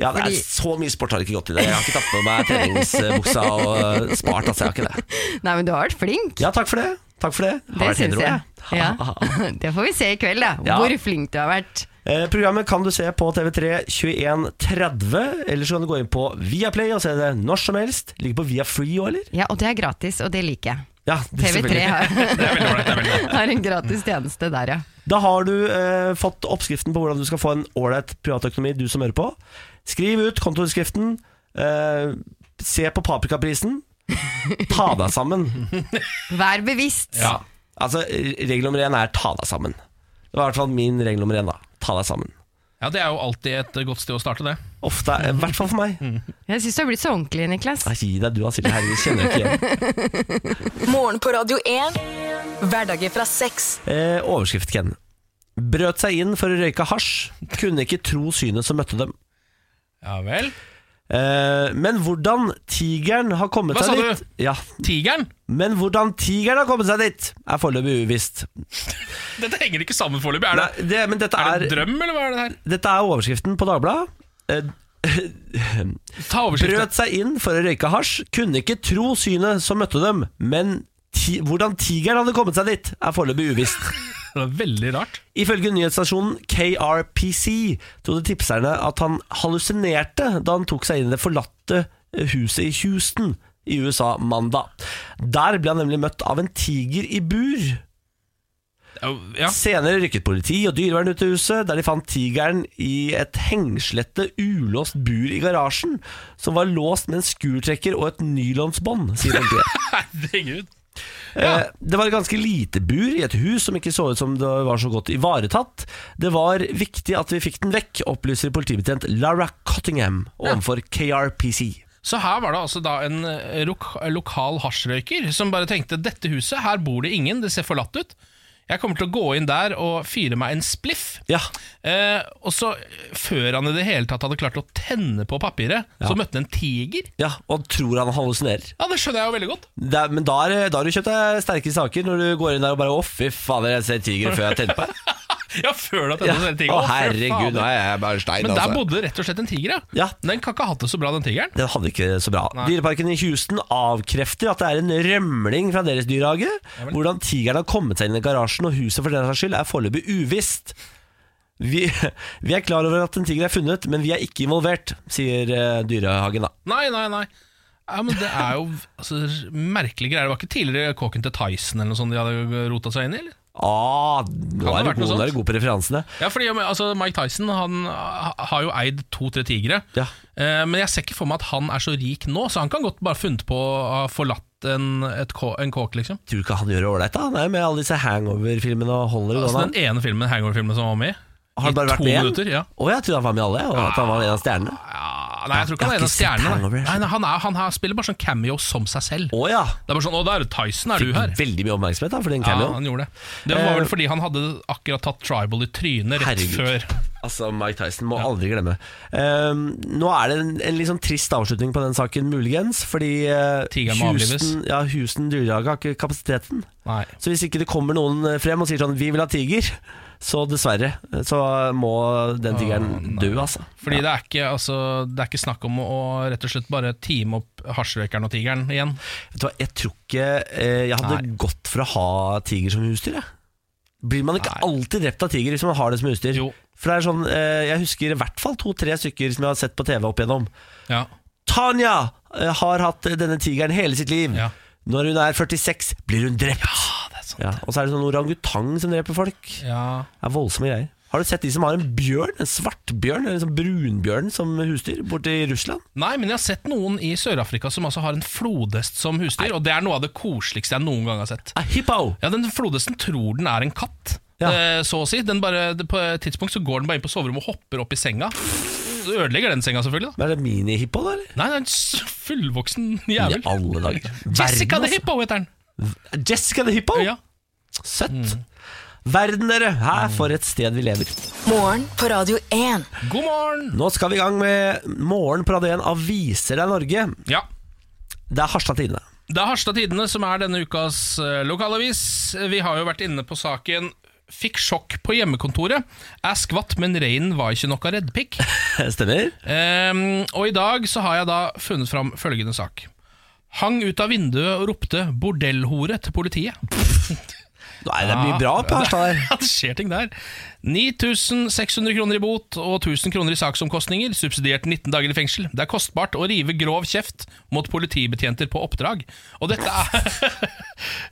Ja, det er Fordi- Så mye sport har jeg ikke gått i det. Jeg har ikke tatt på meg treningsbuksa og eh, spart. altså, jeg har ikke det. Nei, men du har vært flink. Ja, takk for det. Takk for det. Har Det vært syns hedro, jeg. Ja. Det får vi se i kveld, da. Ja. Hvor flink du har vært. Eh, programmet kan du se på TV3 21.30, eller så kan du gå inn på Viaplay og se det når som helst. Ligger på Viafree òg, eller? Ja, og det er gratis, og det liker jeg. Ja, det- TV3 selvfølgelig. har, har en gratis tjeneste der, ja. Da har du eh, fått oppskriften på hvordan du skal få en ålreit privatøkonomi, du som hører på. Skriv ut kontoutskriften. Eh, se på paprikaprisen. Ta deg sammen. Vær bevisst. Ja. Altså, regel nummer én er ta deg sammen. Det var i hvert fall min regel nummer én, da. Ta deg sammen. ja, det er jo alltid et godt sted å starte, det. Ofte, I hvert fall for meg. Mm. Jeg syns du har blitt så ordentlig, Niklas. Nei, Gi deg, du har Silje. Herregud, kjenner jeg ikke igjen. Morgen på Radio 1. Hverdager fra seks. Eh, overskrift, Ken. Brøt seg inn for å røyke hasj. Kunne ikke tro synet som møtte dem. Ja vel. Eh, men hvordan tigeren har kommet Hva seg sa dit Ja, Tigeren! Men hvordan tigeren har kommet seg dit, er foreløpig uvisst. Dette henger ikke sammen foreløpig. Er, Nei, det- det, men dette er er, det en drøm, eller hva er det her? dette er overskriften på Dagbladet. Eh, Ta overskriften. Brøt seg inn for å røyke hasj, kunne ikke tro synet som møtte dem, men ti hvordan tigeren hadde kommet seg dit, er foreløpig uvisst. Det er veldig rart. Ifølge nyhetsstasjonen KRPC trodde tipserne at han hallusinerte da han tok seg inn i det forlatte huset i Houston i USA mandag. Der ble han nemlig møtt av en tiger i bur. Ja. Senere rykket politi og dyrevern ut til huset, der de fant tigeren i et hengslete, ulåst bur i garasjen, som var låst med en skurtrekker og et nylonsbånd, sier politiet. Herregud. Eh, Det var et ganske lite bur i et hus som ikke så ut som det var så godt ivaretatt. Det var viktig at vi fikk den vekk, opplyser politibetjent Lara Cottingham overfor KRPC. Så her var det altså da en eh, lok lokal hasjrøyker som bare tenkte dette huset, her bor det ingen, det ser forlatt ut. Jeg kommer til å gå inn der og fyre meg en spliff. Ja. Eh, og så, før han i det hele tatt hadde klart å tenne på papiret, så møtte han en tiger. ja, og tror han hallusinerer. Ja, Det skjønner jeg jo veldig godt. Det er- Men da er- da har du kjøpt deg sterke saker, når du går inn der og bare Å, fy fader, jeg ser tigre før jeg tenner på her. Ja, før du har Ja. tennet hele Å, tigeren. Å, fy herregud, faen. nå er jeg bare stein, Men der altså. bodde rett og slett en tiger, ja. Ja. Den kan ikke ha hatt det så bra, den tigeren. Den hadde ikke det så bra. Dyreparken i Houston avkrefter at det er en rømling fra deres dyrehage. Hvordan tigeren har kommet seg inn i garasjen og huset for den saks skyld, er foreløpig uvisst. Vi, vi er klar over at en tiger er funnet, men vi er ikke involvert, sier eh, dyrehagen da. Nei, nei, nei. Ja, men Det er jo altså, merkelige greier. Det var ikke tidligere kåken til Tyson eller noe sånt de hadde rota seg inn i? eller? Ah, nå er Kan det du ha vært god, noe nå er sånt? du god på referansene. Ja, fordi ja, men, altså, Mike Tyson han ha- har jo eid to-tre tigre. Ja. Eh, men jeg ser ikke for meg at han er så rik nå, så han kan godt bare funnet på å ha forlatt en, et kå, en kåk, liksom. Tror du ikke han gjør det ålreit, da? Han er jo med i alle disse hangover-filmene og holder det Altså, gående. den ene filmen, Hangover-filmen som han var med i. Har han i bare vært to med minutter, igjen? ja. Å, jeg trodde han var med i alle, og at han var en av stjernene. Ja, nei, jeg tror ikke Jeg har han er en av ikke sett stjernene. Hangover. Nei, nei, han, er, han har, spiller bare sånn cameo som seg selv. Å ja. Det er bare sånn, å, der, Tyson er du her. Veldig mye oppmerksomhet da, for den Ja, cameoen. han gjorde det. Det var Eh, vel fordi han hadde akkurat tatt tribal i trynet rett Herregud. før. Altså, Mike Tyson må aldri glemme. Ehm, nå er det en, en litt sånn trist avslutning på den saken, muligens. Fordi eh, Tigeren må Houston, ja, Houston dyrehage har ikke kapasiteten. Nei. Så hvis ikke det kommer noen eh, frem og sier sånn 'vi vil ha tiger', så dessverre, eh, så må den tigeren dø, altså. Fordi det, er ikke, altså, det er ikke snakk om å, å rett og slett bare time opp hasjrøykeren og tigeren igjen. Vet du hva, jeg tror ikke eh, jeg hadde gått for å ha tiger som husdyr, jeg. Blir man ikke Nei. alltid drept av tiger hvis man har det som husdyr? Jo. For det er sånn, eh, Jeg husker i hvert fall to-tre stykker som jeg har sett på TV opp igjennom. Ja. Tanja eh, har hatt denne tigeren hele sitt liv. Ja. Når hun er 46, blir hun drept. Ja, det er sant. Og så er det sånn orangutang som dreper folk. ja. Det er voldsomme greier. Har du sett de som har en bjørn, en svartbjørn, eller en sånn brunbjørn som husdyr, borte i Russland? Nei, men jeg har sett noen i Sør-Afrika som altså har en flodhest som husdyr, og det er noe av det koseligste jeg noen gang har sett. A hippo! Ja, den flodhesten tror den er en katt, Ja. eh, så å si. Den bare, det- på et tidspunkt så går den bare inn på soverommet og hopper opp i senga. Så ødelegger den senga, selvfølgelig. da Men Er det mini-hippo, da? eller? Nei, det er en s- fullvoksen I jævel. alle dager. Jessica Verden, the Hippo heter den. altså. Jessica the Hippo! Ja. Mm. Søtt. Verden, dere! Her, for et sted vi lever. Morgen på Radio 1. God morgen! Nå skal vi i gang med Morgen på Radio 1 Aviser deg Norge. Ja, Det er Harstad Tidende. Det er Harstad Tidende som er denne ukas eh, lokalavis. Vi har jo vært inne på saken Fikk sjokk på hjemmekontoret. Er skvatt, men reinen var ikke noe reddpikk. Stemmer? Ehm, og i dag så har jeg da funnet fram følgende sak. Hang ut av vinduet og ropte 'bordellhore' til politiet. Nei, det er mye bra på Harstad her. Ja, det skjer ting der. 9600 kroner i bot og 1000 kroner i saksomkostninger, subsidiert 19 dager i fengsel. Det er kostbart å rive grov kjeft mot politibetjenter på oppdrag. Og dette er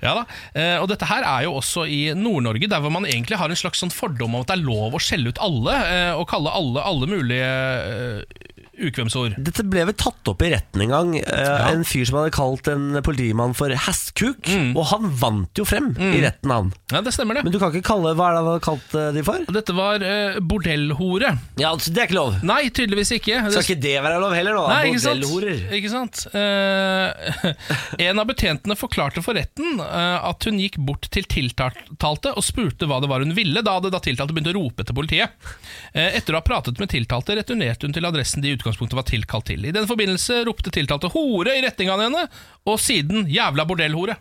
Ja da. Eh, Og dette her er jo også i Nord-Norge, der hvor man egentlig har en slags sånn fordom om at det er lov å skjelle ut alle, eh, og kalle alle alle mulige eh, ukvemsord. Dette ble vel tatt opp i retten en gang. Eh, En fyr som hadde kalt en politimann for hestkuk. Og han vant jo frem i retten, han. Ja, det stemmer, det. Men du kan ikke kalle Hva er det han hadde kalt eh, de for? Og Dette var eh, bordellhore. Ja, altså, Det er ikke lov. Nei, tydeligvis ikke. Skal ikke det være lov heller, da? Nei, ikke sant? Bordellhorer. Ikke sant? Eh, en av betjentene forklarte for retten eh, at hun gikk bort til tiltalte og spurte hva det var hun ville, da hadde da tiltalte begynt å rope til politiet. Eh, etter å ha pratet med tiltalte returnerte hun til adressen de i utgangspunktet var tilkalt til. I den forbindelse ropte tiltalte 'hore' i retning av henne, og siden 'jævla bordellhore'.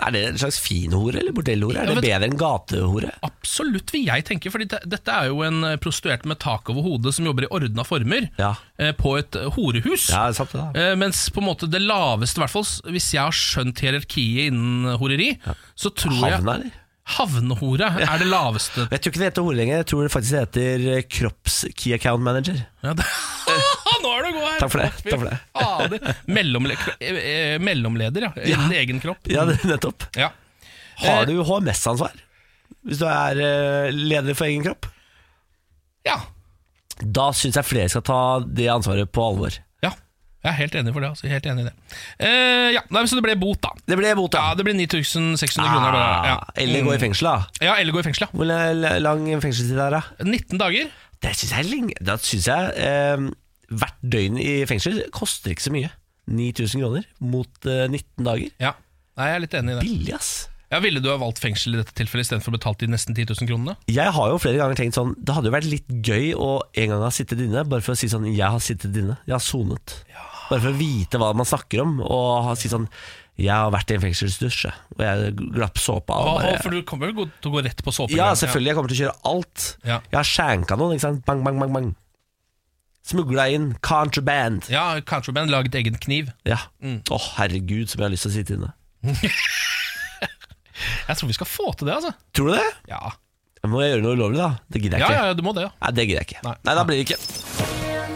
Er det en slags finhore eller bordellhore? Er Ja, det vet- bedre enn gatehore? Absolutt, vil jeg tenke, for dette er jo en eh, prostituert med tak over hodet som jobber i ordna former Ja. eh, på et eh, horehus. Ja, sant det, da. Eh, mens på en måte det laveste, i hvert fall s- hvis jeg har skjønt hierarkiet innen horeri, så tror Havna, jeg eller? Havnehore er det laveste. Jeg tror ikke det heter hore lenger. Jeg tror det faktisk heter eh, kropps key account manager. Ja, det. Nå er du god her! Takk for det, takk for det. Fader. Mellomle eh, eh, mellomleder, ja. Innen egen kropp. Ja, det- nettopp. Ja. Har du HMS-ansvar? Hvis du er eh, leder for egen kropp? Ja. Da syns jeg flere skal ta det ansvaret på alvor. ja. Jeg er helt enig for det. Altså. Jeg er Helt enig i det. Eh, ja. Nei, men så det ble bot, da. Det ble bot, Ja, Det blir 9600 kroner. bare, Ah, Ja. Mm. Eller gå i fengsel, da. Ja, eller gå i fengsel. ja. Hvor l- lang fengselstid er det? 19 dager. Det syns jeg er lenge. Da syns jeg eh, hvert døgn i fengsel koster ikke så mye. 9000 kroner mot eh, 19 dager. Ja. Nei, jeg er litt enig i det. Billig, ass. Jeg Ja, Ville du ha valgt fengsel i dette tilfellet istedenfor å betalt de nesten 10 000 kronene? Jeg har jo flere ganger tenkt sånn Det hadde jo vært litt gøy å en gang ha sittet inne, bare for å si sånn Jeg har sittet inne, jeg har sonet. Bare for å vite hva man snakker om, og ha- si sånn Jeg har vært i en fengselsdusj, jeg, og jeg glapp såpa av. Hva, bare- for du kommer jo til å gå rett på såpe. Ja, selvfølgelig. Jeg kommer til å kjøre alt. Ja. Jeg har skjenka noen, ikke sant. Bang, bang, bang. bang Smugla inn. Contraband. Ja, Contraband laget egen kniv. Ja. Å, Mm. herregud, som jeg har lyst til å sitte inne. Jeg tror vi skal få til det, altså. Tror du det? Ja, Må jeg gjøre noe ulovlig, da? Det gidder jeg ja, ikke. ja, du må det, ja. Nei, det gidder jeg ikke. Nei. Nei, da blir det ikke.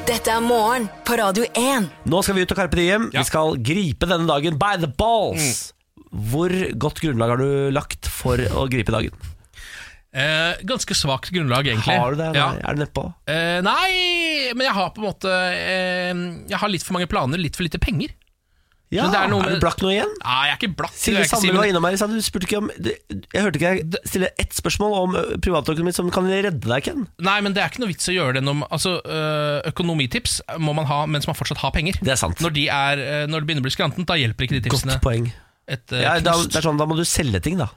Dette er morgen på Radio 1. Nå skal vi ut og karpe diem. Ja. Vi skal gripe denne dagen by the balls. Mm. Hvor godt grunnlag har du lagt for å gripe dagen? Eh, ganske svakt grunnlag, egentlig. Har du det? Ja. Nei, Er det nedpå? Eh, nei, men jeg har på en måte eh, Jeg har litt for mange planer, litt for lite penger. Ja, Så det er er, noe med- du blakk nå igjen? Nei, jeg er ikke blakk. det vil Silje jeg ikke si, Sandmæl men- var innom her. sa Du spurte ikke om du- Jeg hørte ikke jeg stille ett spørsmål om ø, privatøkonomi som kan redde deg, Ken. Nei, men det er ikke noe vits å gjøre det når, altså, øh, Økonomitips må man ha mens man fortsatt har penger. Det er sant. Når, de er, øh, når det begynner å bli skrantent, da hjelper ikke de tipsene. Godt poeng. Et, øh, Ja, da, knust. det er sånn, da må du selge ting, da.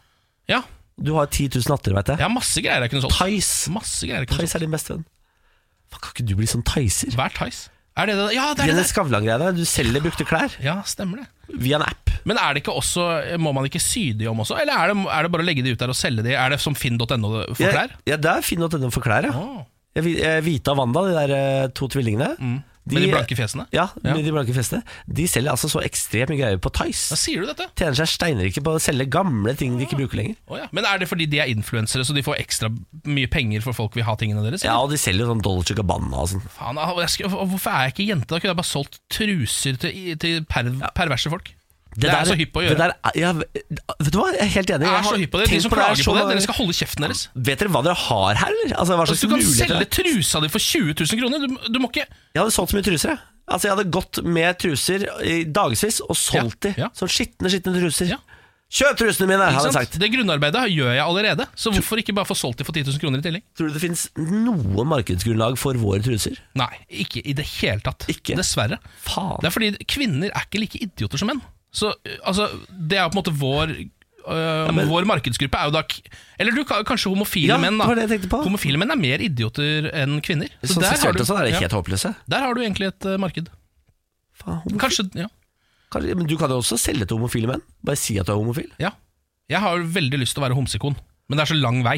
ja, Du har 10 000 natter, veit jeg jeg. har masse greier jeg kunne solgt. Tice. Masse greier jeg kunne Tice er din beste venn. Fuck, Kan ikke du bli sånn Ticer? solgt. Hver Theis. Er det det? Ja, det er Denne det! Skavlan-greia der. Du selger brukte klær Ja, stemmer det. via en app. Men er det ikke også, må man ikke sy de om også? Eller er det, er det bare å legge de ut der og selge de? Er det som finn.no for klær? Ja, ja det er finn.no for klær, ja. Åh. Jeg vi- jeg- Vita og Wanda, de der eh, to tvillingene. Mm. Med de blanke fjesene? Ja, Ja. med de blanke fjesene. De selger altså så ekstremt mye greier på Da Tice. sier du dette. Tjener seg steinrike på å selge gamle ting de ikke bruker lenger. Å ja. Men er det fordi de er influensere, så de får ekstra mye penger for folk vil ha tingene deres? Ja, og de selger jo sånn Dolce Gabbana og sånn. Faen, ah, jeg skulle- og hvorfor er jeg ikke jente? Da kunne jeg bare solgt truser til, til per, perverse folk. Det, er så hypp å gjøre. Det der, er- ja, vet du hva, jeg er helt enig. jeg Jeg er har så hypp på det. De tenkt som her klager så på det, mange dere skal holde kjeften deres. ganger. Vet dere hva dere har her, eller? Altså, hva slags Du kan muligheter selge det er? trusa di for 20 000 kroner! Du, du må ikke Jeg hadde solgt så mye truser, jeg. Altså, jeg hadde gått med truser i dagevis og solgt Ja, de. ja. Sånn skitne, skitne truser. Ja. Kjøp trusene mine, ikke hadde jeg sant? sagt. Det grunnarbeidet gjør jeg allerede, så hvorfor ikke bare få solgt de for 10 000 kroner i tillegg? Tror du det finnes noe markedsgrunnlag for våre truser? Nei, ikke i det hele tatt. Ikke? Dessverre. Faen. Det er fordi kvinner er ikke like idioter som menn. Så øh, altså, det er på en måte vår øh, Vår markedsgruppe er jo da k- Eller du, ka- kanskje homofile Ja, menn. da det var det jeg tenkte på. Homofile menn er mer idioter enn kvinner. Så Sånn der, har seksuelt du, og sånn er det ja, helt håpløse. der har du egentlig et øh, marked. Faen, homo- Kanskje, ja, kanskje, men du kan jo også selge til homofile menn. Bare si at du er homofil. ja. Jeg har veldig lyst til å være homsekon, men det er så lang vei.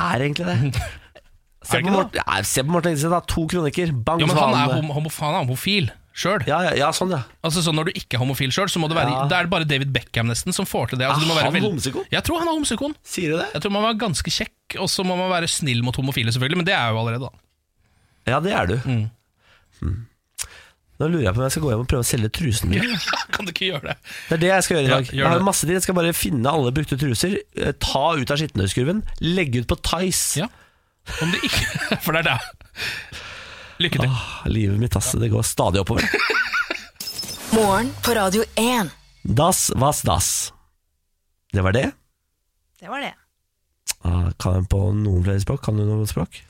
Er egentlig det. Se Er det på ikke Morten, ja, se på Morten Engseth, da. To kronikker. Bang, Jo, men han er, svane. hom homo, han er homofil sjøl. Ja, ja, ja, sånn, ja. Altså, sånn når du ikke er homofil sjøl, så må det være Ja. Det er det bare David Beckham nesten som får til det. Er Altså, du må være han veld- homsekon? Jeg tror han er homsekon. Sier du det? Jeg tror man må være ganske kjekk, og så må man være snill mot homofile, selvfølgelig. Men det er jeg jo allerede, da. Ja, det er du. Mm. Hmm. Nå lurer jeg på om jeg skal gå hjem og prøve å selge trusene mine. kan du ikke gjøre det? Det er det jeg skal gjøre i Ja, dag. gjør jeg har det. jo masse tid. Jeg skal bare finne alle brukte truser, eh, ta ut av skittenhøyskurven, legge ut på Tice. Ja. Om det ikke For det er det. Lykke til. Ah, Livet mitt, ass. Det går stadig oppover. Morgen på Radio 1. Das was das. Det var det. Det var det. Ah, Kan jeg på noen flere språk? Kan du noen språk?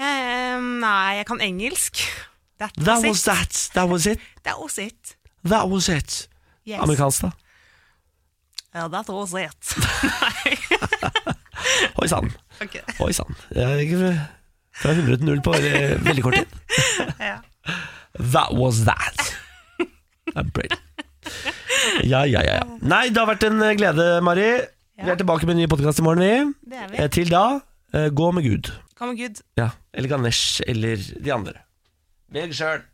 Eh, nei, jeg kan engelsk. That That was, was it. that. That was it. That was it. That was it. Yes. Amerikansk, da. Ja, that was it. nei, Oi sann. ok. Oi sann. Jeg gikk fra- fra 100 til 0 på veldig, veldig kort tid. Ja. That was that. Det er bra. Ja, ja, ja. ja. Nei, det har vært en eh, glede, Mari. Vi er tilbake med en ny podkast i morgen, vi. Det er vi. Eh, Til da, eh, gå med Gud. Come on, good. Ja. Eller Ganesh, eller de andre. Velg sjøl.